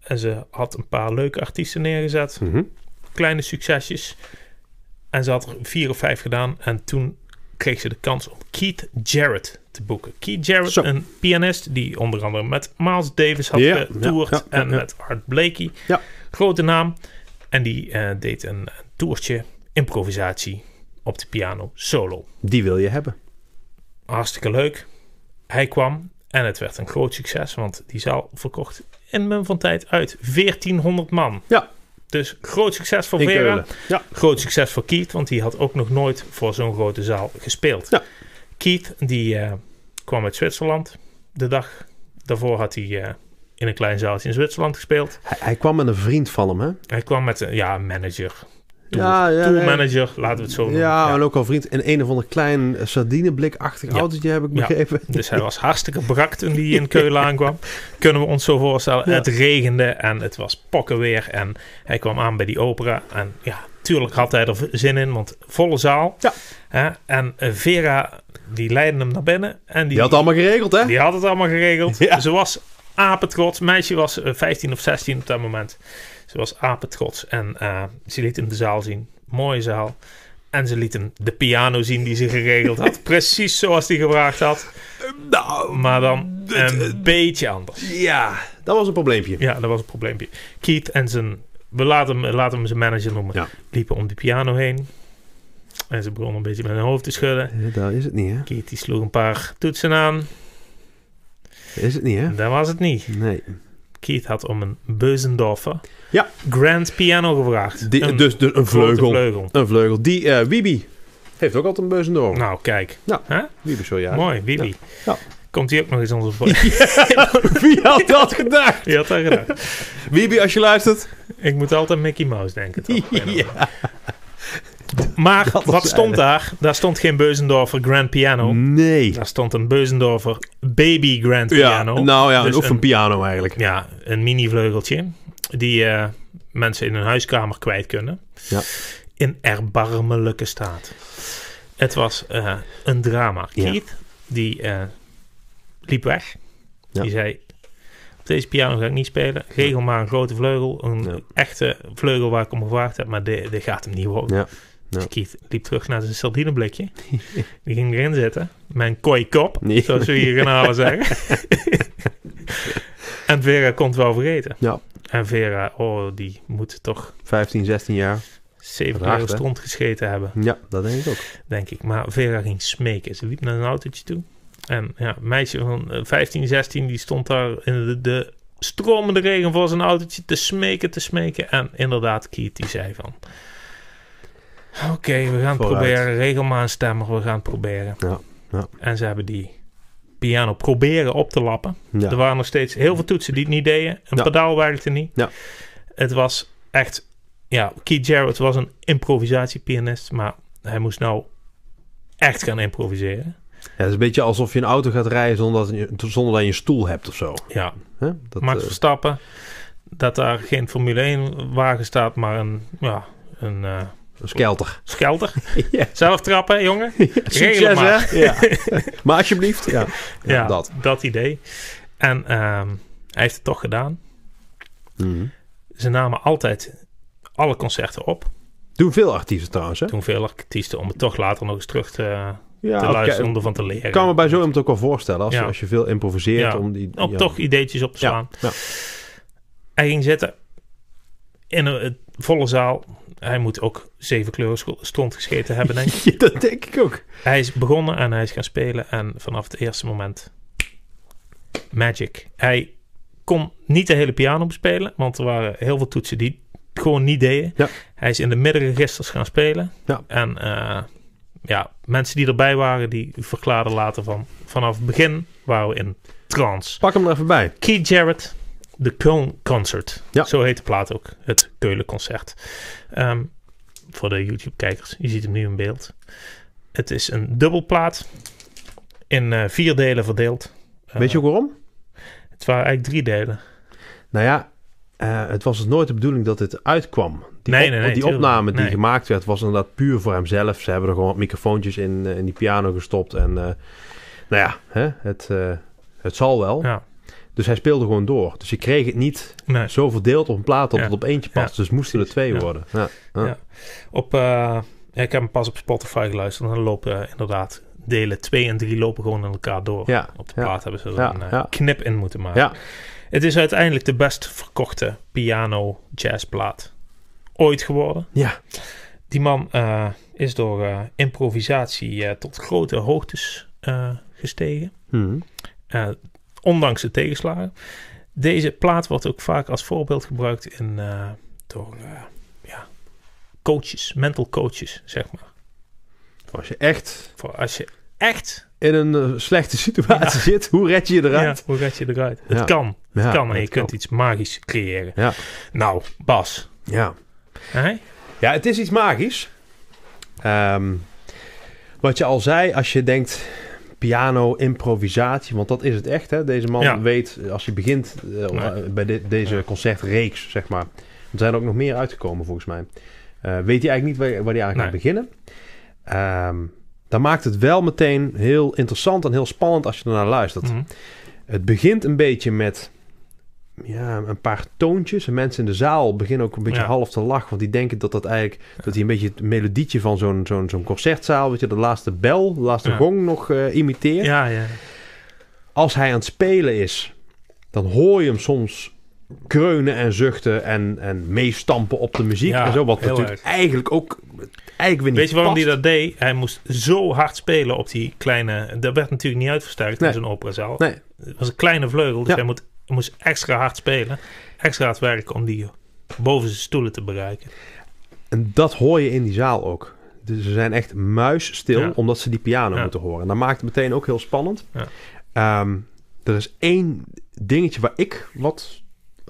[SPEAKER 1] Eh, En ze had een paar leuke artiesten neergezet.
[SPEAKER 2] Mhm.
[SPEAKER 1] Kleine succesjes. En ze had er vier of vijf gedaan. En toen kreeg ze de kans om Keith Jarrett te boeken. Keith Jarrett,
[SPEAKER 2] Zo.
[SPEAKER 1] een pianist die onder andere met Miles Davis had
[SPEAKER 2] Ja,
[SPEAKER 1] getoerd.
[SPEAKER 2] ja, ja, ja,
[SPEAKER 1] en
[SPEAKER 2] ja.
[SPEAKER 1] met Art Blakey.
[SPEAKER 2] Ja.
[SPEAKER 1] Grote naam. En die eh, deed een toertje improvisatie op de piano solo
[SPEAKER 2] Die wil je hebben.
[SPEAKER 1] hartstikke leuk. Hij kwam en het werd een groot succes, want die zaal verkocht in mum van tijd uit 1400 man.
[SPEAKER 2] Ja,
[SPEAKER 1] Dus groot succes voor
[SPEAKER 2] in
[SPEAKER 1] Vera.
[SPEAKER 2] Keulen. Ja.
[SPEAKER 1] Groot succes voor Keith, want die had ook nog nooit voor zo'n grote zaal gespeeld.
[SPEAKER 2] Ja.
[SPEAKER 1] Keith, die eh, kwam uit Zwitserland. De dag daarvoor had hij eh, in een klein zaaltje in Zwitserland gespeeld.
[SPEAKER 2] Hij, hij kwam met een vriend van hem, hè?
[SPEAKER 1] Hij kwam met een ja, manager. Tour,
[SPEAKER 2] Ja, ja, nee.
[SPEAKER 1] tourmanager, laten we het zo noemen.
[SPEAKER 2] Ja, en ook al vriend. In een of ander klein eh, sardineblikachtig
[SPEAKER 1] Ja.
[SPEAKER 2] autootje heb ik
[SPEAKER 1] Ja.
[SPEAKER 2] begrepen.
[SPEAKER 1] Dus hij was hartstikke brak toen hij in Keulen aankwam. Kunnen we ons zo voorstellen.
[SPEAKER 2] Ja.
[SPEAKER 1] Het regende en het was pokkenweer. En hij kwam aan bij die opera. En ja, tuurlijk had hij er zin in, want volle zaal.
[SPEAKER 2] Ja.
[SPEAKER 1] Hè? En eh, Vera, die leidde hem naar binnen. En die,
[SPEAKER 2] Die had het allemaal geregeld, hè?
[SPEAKER 1] die had het allemaal geregeld.
[SPEAKER 2] Ja.
[SPEAKER 1] Ze was apetrots. Meisje was eh, 15 of 16 op dat moment. Ze was apetrots. En eh, ze liet hem de zaal zien. Mooie zaal. En ze liet hem de piano zien die ze geregeld had. Precies zoals hij gevraagd had.
[SPEAKER 2] Nou,
[SPEAKER 1] Maar dan
[SPEAKER 2] eh,
[SPEAKER 1] een beetje anders.
[SPEAKER 2] ja. Dat was een probleempje.
[SPEAKER 1] Ja, dat was een probleempje. Keith en zijn... We laten hem, laten hem zijn manager noemen.
[SPEAKER 2] Ja.
[SPEAKER 1] Liepen om de piano heen. En ze begonnen een beetje met hun hoofd te schudden.
[SPEAKER 2] Eh, Daar is het niet, hè?
[SPEAKER 1] Keith die sloeg een paar toetsen aan.
[SPEAKER 2] Is het niet, hè?
[SPEAKER 1] Dat was het niet.
[SPEAKER 2] Nee.
[SPEAKER 1] Keith had om een Beuzendorfer
[SPEAKER 2] Ja.
[SPEAKER 1] Grand Piano gevraagd.
[SPEAKER 2] Die-
[SPEAKER 1] een
[SPEAKER 2] dus, dus een
[SPEAKER 1] grote
[SPEAKER 2] vleugel. Een vleugel. Die eh, Wiebe heeft ook altijd een beuzendorf.
[SPEAKER 1] Nou, kijk.
[SPEAKER 2] Ja.
[SPEAKER 1] Hè?
[SPEAKER 2] Wiebe, zo ja.
[SPEAKER 1] Mooi, Willy.
[SPEAKER 2] Ja.
[SPEAKER 1] Komt hij ook nog eens onze voor?
[SPEAKER 2] Wie had dat gedacht?
[SPEAKER 1] Die had dat gedaan.
[SPEAKER 2] Wiebe, als je luistert.
[SPEAKER 1] Ik moet altijd Mickey Mouse denken. toch?
[SPEAKER 2] Ja.
[SPEAKER 1] Maar
[SPEAKER 2] Dat
[SPEAKER 1] wat
[SPEAKER 2] is
[SPEAKER 1] stond daar? Daar stond geen Beuzendorfer Grand Piano.
[SPEAKER 2] Nee.
[SPEAKER 1] Daar stond een Beuzendorfer Baby Grand
[SPEAKER 2] Mm. Ja,
[SPEAKER 1] Piano.
[SPEAKER 2] nou ja,
[SPEAKER 1] Dus
[SPEAKER 2] of een
[SPEAKER 1] een-
[SPEAKER 2] piano eigenlijk.
[SPEAKER 1] Ja, een mini-vleugeltje. Die eh, mensen in hun huiskamer kwijt kunnen.
[SPEAKER 2] Ja.
[SPEAKER 1] In erbarmelijke staat. Het was eh, een drama.
[SPEAKER 2] Ja.
[SPEAKER 1] Keith, die eh, liep weg.
[SPEAKER 2] Ja.
[SPEAKER 1] Die zei... Op deze piano ga ik niet spelen. Regel maar een grote vleugel. Een
[SPEAKER 2] Ja.
[SPEAKER 1] echte vleugel waar ik om gevraagd heb. Maar dit, dit gaat hem niet worden.
[SPEAKER 2] Ja.
[SPEAKER 1] Dus Keith liep terug naar zijn sardineblikje. Die ging erin zitten. Mijn kooikop,
[SPEAKER 2] Nee.
[SPEAKER 1] zoals we hier in Halen zeggen. en Vera kon het wel vergeten.
[SPEAKER 2] Ja.
[SPEAKER 1] En Vera, oh, die moet toch
[SPEAKER 2] 15, 16 jaar.
[SPEAKER 1] zeven
[SPEAKER 2] Raar,
[SPEAKER 1] keer
[SPEAKER 2] hè?
[SPEAKER 1] stront gescheten hebben,
[SPEAKER 2] Ja, dat denk ik ook.
[SPEAKER 1] denk ik. Maar Vera ging smeken. Ze liep naar een autootje toe. En ja, een meisje van eh, 15, 16, die stond daar in de, de stromende regen voor zijn autootje te smeken, te smeken. En inderdaad, Keith, die zei van... Oké, we gaan het
[SPEAKER 2] Vooruit.
[SPEAKER 1] proberen. Regel maar een stemmer, we gaan het proberen.
[SPEAKER 2] Ja, ja.
[SPEAKER 1] En ze hebben die piano proberen op te lappen.
[SPEAKER 2] Ja.
[SPEAKER 1] Er waren nog steeds heel veel toetsen die het niet deden. Een
[SPEAKER 2] Ja.
[SPEAKER 1] pedaal werkte niet.
[SPEAKER 2] Ja.
[SPEAKER 1] Het was echt... Ja, Keith Jarrett was een improvisatiepianist, maar hij moest nou echt gaan improviseren.
[SPEAKER 2] Ja, het is een beetje alsof je een auto gaat rijden zonder dat je, zonder dat je een stoel hebt of zo.
[SPEAKER 1] Ja,
[SPEAKER 2] Hè? Dat,
[SPEAKER 1] Max
[SPEAKER 2] eh,
[SPEAKER 1] Verstappen, dat daar geen Formule 1 wagen staat, maar een, ja, een eh,
[SPEAKER 2] een skelter.
[SPEAKER 1] skelter.
[SPEAKER 2] Ja.
[SPEAKER 1] Zelf trappen, jongen. Regel
[SPEAKER 2] Succes,
[SPEAKER 1] maar.
[SPEAKER 2] hè? Ja. maar alsjeblieft. Ja, ja,
[SPEAKER 1] Ja,
[SPEAKER 2] dat.
[SPEAKER 1] dat. idee. En ehm, hij heeft het toch gedaan.
[SPEAKER 2] Mhm.
[SPEAKER 1] Ze namen altijd alle concerten op.
[SPEAKER 2] Doen veel artiesten trouwens, hè?
[SPEAKER 1] Toen veel artiesten om het toch later nog eens terug te,
[SPEAKER 2] Ja,
[SPEAKER 1] te
[SPEAKER 2] oké.
[SPEAKER 1] luisteren om ervan te leren.
[SPEAKER 2] Ik kan me bij zo iemand ook wel voorstellen. Als,
[SPEAKER 1] Ja.
[SPEAKER 2] als je veel improviseert
[SPEAKER 1] Ja.
[SPEAKER 2] om die...
[SPEAKER 1] Om
[SPEAKER 2] ja.
[SPEAKER 1] toch ideetjes op te slaan.
[SPEAKER 2] Ja, ja.
[SPEAKER 1] Hij ging zitten in een een volle zaal. Hij moet ook zeven kleuren scho- stront gescheten hebben, denk ik.
[SPEAKER 2] Ja, dat denk ik ook.
[SPEAKER 1] hij is begonnen en hij is gaan spelen. En vanaf het eerste moment... Magic. Hij kon niet de hele piano bespelen. Want er waren heel veel toetsen die het gewoon niet deden.
[SPEAKER 2] Ja.
[SPEAKER 1] Hij is in de middenregisters gaan spelen.
[SPEAKER 2] Ja.
[SPEAKER 1] En eh, ja, mensen die erbij waren, die verklaarden later van... Vanaf het begin waren we in trance.
[SPEAKER 2] Pak hem er even bij.
[SPEAKER 1] Keith Jarrett, de Köln Concert.
[SPEAKER 2] Ja.
[SPEAKER 1] Zo heet de plaat ook, het Keulen Concert. Ehm, voor de YouTube-kijkers, je ziet hem nu in beeld. Het is een dubbelplaat, in eh, vier delen verdeeld. Eh,
[SPEAKER 2] Weet je ook waarom?
[SPEAKER 1] Het waren eigenlijk drie delen.
[SPEAKER 2] Nou ja, eh, het was dus nooit de bedoeling dat dit uitkwam. Die,
[SPEAKER 1] Nee, nee, nee,
[SPEAKER 2] die
[SPEAKER 1] tuurlijk.
[SPEAKER 2] opname die
[SPEAKER 1] Nee.
[SPEAKER 2] gemaakt werd, was inderdaad puur voor hemzelf. Ze hebben er gewoon wat microfoontjes in, eh, in die piano gestopt. En eh, nou ja, hè, het, eh, het zal wel.
[SPEAKER 1] Ja.
[SPEAKER 2] Dus hij speelde gewoon door. Dus je kreeg het niet
[SPEAKER 1] Nee.
[SPEAKER 2] zo verdeeld op een plaat dat
[SPEAKER 1] Ja.
[SPEAKER 2] het op eentje past. Dus het moesten er twee
[SPEAKER 1] Ja.
[SPEAKER 2] worden. Ja. Ja.
[SPEAKER 1] Ja. Op, eh, ja, ik heb hem pas op Spotify geluisterd. En dan lopen eh, inderdaad delen 2 en 3 lopen gewoon aan elkaar door.
[SPEAKER 2] Ja.
[SPEAKER 1] Op de
[SPEAKER 2] Ja.
[SPEAKER 1] plaat hebben ze er
[SPEAKER 2] Ja.
[SPEAKER 1] een eh,
[SPEAKER 2] Ja.
[SPEAKER 1] knip in moeten maken.
[SPEAKER 2] Ja.
[SPEAKER 1] Het is uiteindelijk de best verkochte piano jazzplaat ooit geworden.
[SPEAKER 2] Ja.
[SPEAKER 1] Die man eh, is door eh, improvisatie eh, tot grote hoogtes eh, gestegen.
[SPEAKER 2] Mhm.
[SPEAKER 1] Eh, ondanks de tegenslagen. Deze plaat wordt ook vaak als voorbeeld gebruikt in, eh, door eh, ja, coaches, mental coaches, zeg maar.
[SPEAKER 2] Als je echt
[SPEAKER 1] Voor als je echt.
[SPEAKER 2] in een eh, slechte situatie zit, hoe red je je
[SPEAKER 1] Ja,
[SPEAKER 2] eruit?
[SPEAKER 1] hoe red je eruit?
[SPEAKER 2] Ja.
[SPEAKER 1] Het kan. Het
[SPEAKER 2] Ja,
[SPEAKER 1] kan en
[SPEAKER 2] dat
[SPEAKER 1] je kunt iets magisch creëren.
[SPEAKER 2] Ja.
[SPEAKER 1] Nou, Bas.
[SPEAKER 2] Ja.
[SPEAKER 1] Hè?
[SPEAKER 2] Ja, het is iets magisch. Ehm, wat je al zei, als je denkt piano, improvisatie, want dat is het echt. Hè? Deze man
[SPEAKER 1] Ja.
[SPEAKER 2] weet, eh, als je begint eh,
[SPEAKER 1] Nee.
[SPEAKER 2] bij de- deze concertreeks, zeg maar. Er zijn er ook nog meer uitgekomen volgens mij. Eh, weet hij eigenlijk niet waar, waar hij aan gaat
[SPEAKER 1] Nee.
[SPEAKER 2] beginnen. Ehm dat maakt het wel meteen heel interessant en heel spannend als je ernaar luistert.
[SPEAKER 1] Mhm.
[SPEAKER 2] Het begint een beetje met ja, een paar toontjes. En mensen in de zaal beginnen ook een beetje
[SPEAKER 1] Ja.
[SPEAKER 2] half te lachen. Want die denken dat dat eigenlijk... dat hij een beetje het melodietje van zo'n zo'n zo'n concertzaal... weet je, de laatste bel, de laatste
[SPEAKER 1] Ja.
[SPEAKER 2] gong nog eh, imiteert.
[SPEAKER 1] Ja, ja.
[SPEAKER 2] Als hij aan het spelen is... dan hoor je hem soms kreunen en zuchten... en, en meestampen op de muziek
[SPEAKER 1] Ja,
[SPEAKER 2] en zo. Wat
[SPEAKER 1] heel
[SPEAKER 2] natuurlijk eigenlijk ook... eigenlijk weer niet
[SPEAKER 1] Weet je waarom
[SPEAKER 2] past.
[SPEAKER 1] hij dat deed? Hij moest zo hard spelen op die kleine. Dat werd natuurlijk niet uitversterkt
[SPEAKER 2] Nee.
[SPEAKER 1] in zo'n operazaal.
[SPEAKER 2] Nee,
[SPEAKER 1] Het was een kleine vleugel, dus
[SPEAKER 2] Ja.
[SPEAKER 1] hij moet, hij moest extra hard spelen. Extra hard werken om die boven zijn stoelen te bereiken.
[SPEAKER 2] En dat hoor je in die zaal ook. Dus ze zijn echt muisstil
[SPEAKER 1] Ja.
[SPEAKER 2] omdat ze die piano
[SPEAKER 1] Ja.
[SPEAKER 2] moeten horen. En dat maakt het meteen ook heel spannend.
[SPEAKER 1] Ja.
[SPEAKER 2] Ehm, er is één dingetje waar ik wat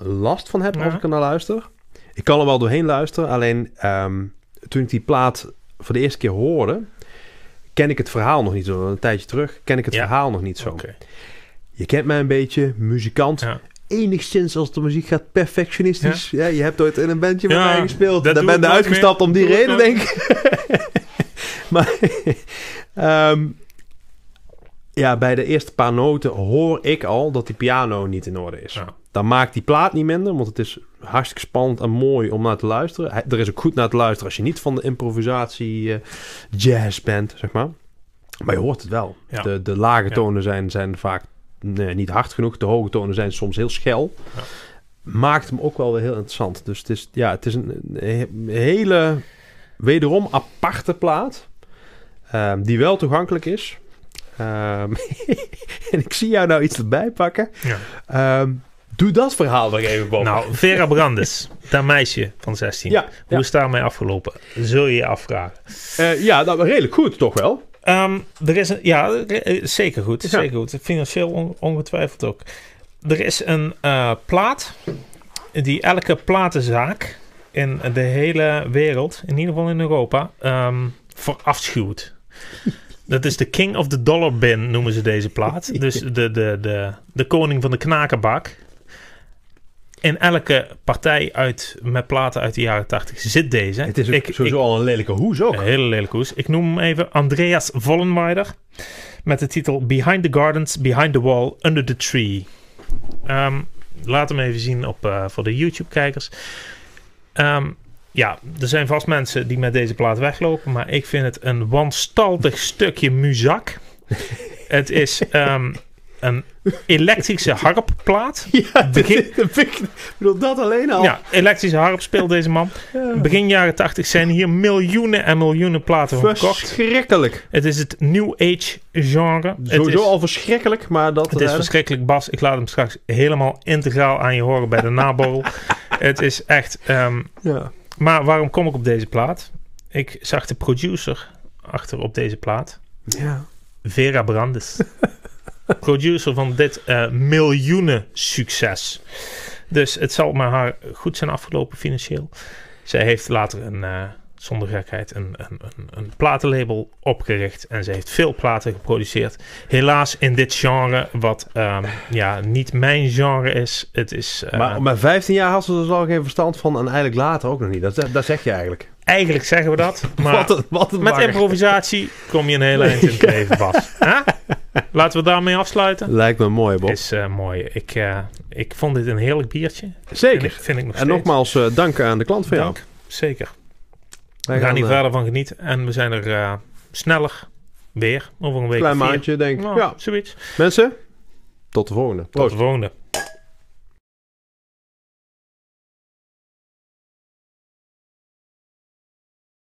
[SPEAKER 2] last van heb
[SPEAKER 1] Ja.
[SPEAKER 2] als ik er naar luister. Ik kan er wel doorheen luisteren. Alleen ehm, toen ik die plaat voor de eerste keer hoorde, ken ik het verhaal nog niet zo. Een tijdje terug ken ik het
[SPEAKER 1] Ja.
[SPEAKER 2] verhaal nog niet zo.
[SPEAKER 1] Oké.
[SPEAKER 2] Je kent mij een beetje, muzikant.
[SPEAKER 1] Ja.
[SPEAKER 2] Enigszins als de muziek gaat perfectionistisch. Ja. je hebt ooit in een bandje met
[SPEAKER 1] Ja,
[SPEAKER 2] mij gespeeld.
[SPEAKER 1] dat
[SPEAKER 2] Daar
[SPEAKER 1] doe
[SPEAKER 2] ben
[SPEAKER 1] ik
[SPEAKER 2] je
[SPEAKER 1] nooit
[SPEAKER 2] uitgestapt
[SPEAKER 1] meer.
[SPEAKER 2] om die
[SPEAKER 1] Doe ik
[SPEAKER 2] reden,
[SPEAKER 1] nooit
[SPEAKER 2] denk ik. maar ehm, ja, bij de eerste paar noten hoor ik al dat die piano niet in orde is.
[SPEAKER 1] Ja.
[SPEAKER 2] Dan maakt die plaat niet minder, want het is hartstikke spannend en mooi om naar te luisteren. Hij- Er is ook goed naar te luisteren als je niet van de improvisatie eh, jazz bent, zeg maar. Maar je hoort het wel.
[SPEAKER 1] Ja.
[SPEAKER 2] De, de lage
[SPEAKER 1] Ja.
[SPEAKER 2] tonen zijn, zijn vaak nee, niet hard genoeg. De hoge tonen zijn soms heel schel.
[SPEAKER 1] Ja.
[SPEAKER 2] Maakt hem ook wel weer heel interessant. Dus het is, ja, het is een, een hele, wederom aparte plaat. ehm, die wel toegankelijk is. Ehm, en ik zie jou nou iets erbij pakken.
[SPEAKER 1] Ja.
[SPEAKER 2] Ehm, doe dat verhaal nog even, Bob.
[SPEAKER 1] Nou, Vera Brandes, dat meisje van 16.
[SPEAKER 2] Ja,
[SPEAKER 1] Hoe
[SPEAKER 2] ja.
[SPEAKER 1] is daarmee afgelopen? Zul je je afvragen.
[SPEAKER 2] Eh, ja, nou, redelijk goed toch wel.
[SPEAKER 1] Ehm, er is een, ja, er- eh, zeker goed.
[SPEAKER 2] Ja.
[SPEAKER 1] Zeker goed. Financieel on- ongetwijfeld ook. Er is een eh, plaat die elke platenzaak in de hele wereld, in ieder geval in Europa, ehm, verafschuwt. Dat is de King of the Dollar Bin, noemen ze deze plaat. Dus de, de, de, de koning van de knakenbak. In elke partij uit, met platen uit de jaren 80 zit deze.
[SPEAKER 2] Het is ook
[SPEAKER 1] Ik- ik-
[SPEAKER 2] sowieso al een lelijke hoes ook.
[SPEAKER 1] een hele lelijke hoes. Ik noem hem even Andreas Vollenweider. Met de titel Behind the Gardens, Behind the Wall, Under the Tree. Ehm, laat hem even zien op, eh, voor de YouTube-kijkers. Ehm, ja, er zijn vast mensen die met deze plaat weglopen. Maar ik vind het een wanstaltig stukje muzak. het is ehm, een elektrische harpplaat.
[SPEAKER 2] Ja, dit-
[SPEAKER 1] Begin-
[SPEAKER 2] dat vind ik, ik bedoel, dat alleen al.
[SPEAKER 1] Ja, elektrische harp speelt deze man. Begin jaren 80 zijn hier miljoenen en miljoenen platen van verkocht.
[SPEAKER 2] verschrikkelijk.
[SPEAKER 1] Het is het New Age genre. het
[SPEAKER 2] Sowieso
[SPEAKER 1] is,
[SPEAKER 2] al verschrikkelijk, maar dat...
[SPEAKER 1] het is
[SPEAKER 2] eh,
[SPEAKER 1] verschrikkelijk, Bas. Ik laat hem straks helemaal integraal aan je horen bij de naborrel. het is echt... ehm,
[SPEAKER 2] ja.
[SPEAKER 1] maar waarom kom ik op deze plaat? Ik zag de producer achter op deze plaat.
[SPEAKER 2] ja.
[SPEAKER 1] Vera Brandes. producer van dit eh, miljoenen succes. Dus het zal maar haar goed zijn afgelopen financieel. Zij heeft later een, eh, zonder gekheid een, een, een, een platenlabel opgericht. En ze heeft veel platen geproduceerd. Helaas in dit genre, wat ehm, ja, niet mijn genre is. Het is eh,
[SPEAKER 2] maar, maar 15 jaar had ze er dus al geen verstand van en eigenlijk later ook nog niet. Dat, zeg- dat zeg je eigenlijk.
[SPEAKER 1] eigenlijk zeggen we dat. Maar
[SPEAKER 2] wat een, wat een
[SPEAKER 1] met
[SPEAKER 2] bagger.
[SPEAKER 1] improvisatie kom je een hele eind in het leven, Bas. Hè? Laten we daarmee afsluiten.
[SPEAKER 2] Lijkt me mooi, Bob.
[SPEAKER 1] Is eh, mooi. Ik, eh, ik vond dit een heerlijk biertje. Vind ik,
[SPEAKER 2] Zeker.
[SPEAKER 1] vind ik nog
[SPEAKER 2] En
[SPEAKER 1] steeds.
[SPEAKER 2] nogmaals, eh, dank aan de klant van jou.
[SPEAKER 1] Dank. Zeker.
[SPEAKER 2] Wij
[SPEAKER 1] We gaan hier
[SPEAKER 2] eh,
[SPEAKER 1] verder van genieten. En we zijn er eh, sneller weer. Over een week
[SPEAKER 2] Klein
[SPEAKER 1] of vier.
[SPEAKER 2] maandje, denk ik.
[SPEAKER 1] Nou,
[SPEAKER 2] Ja.
[SPEAKER 1] zoiets.
[SPEAKER 2] Mensen, tot de volgende.
[SPEAKER 1] Tot
[SPEAKER 2] Proost.
[SPEAKER 1] de volgende.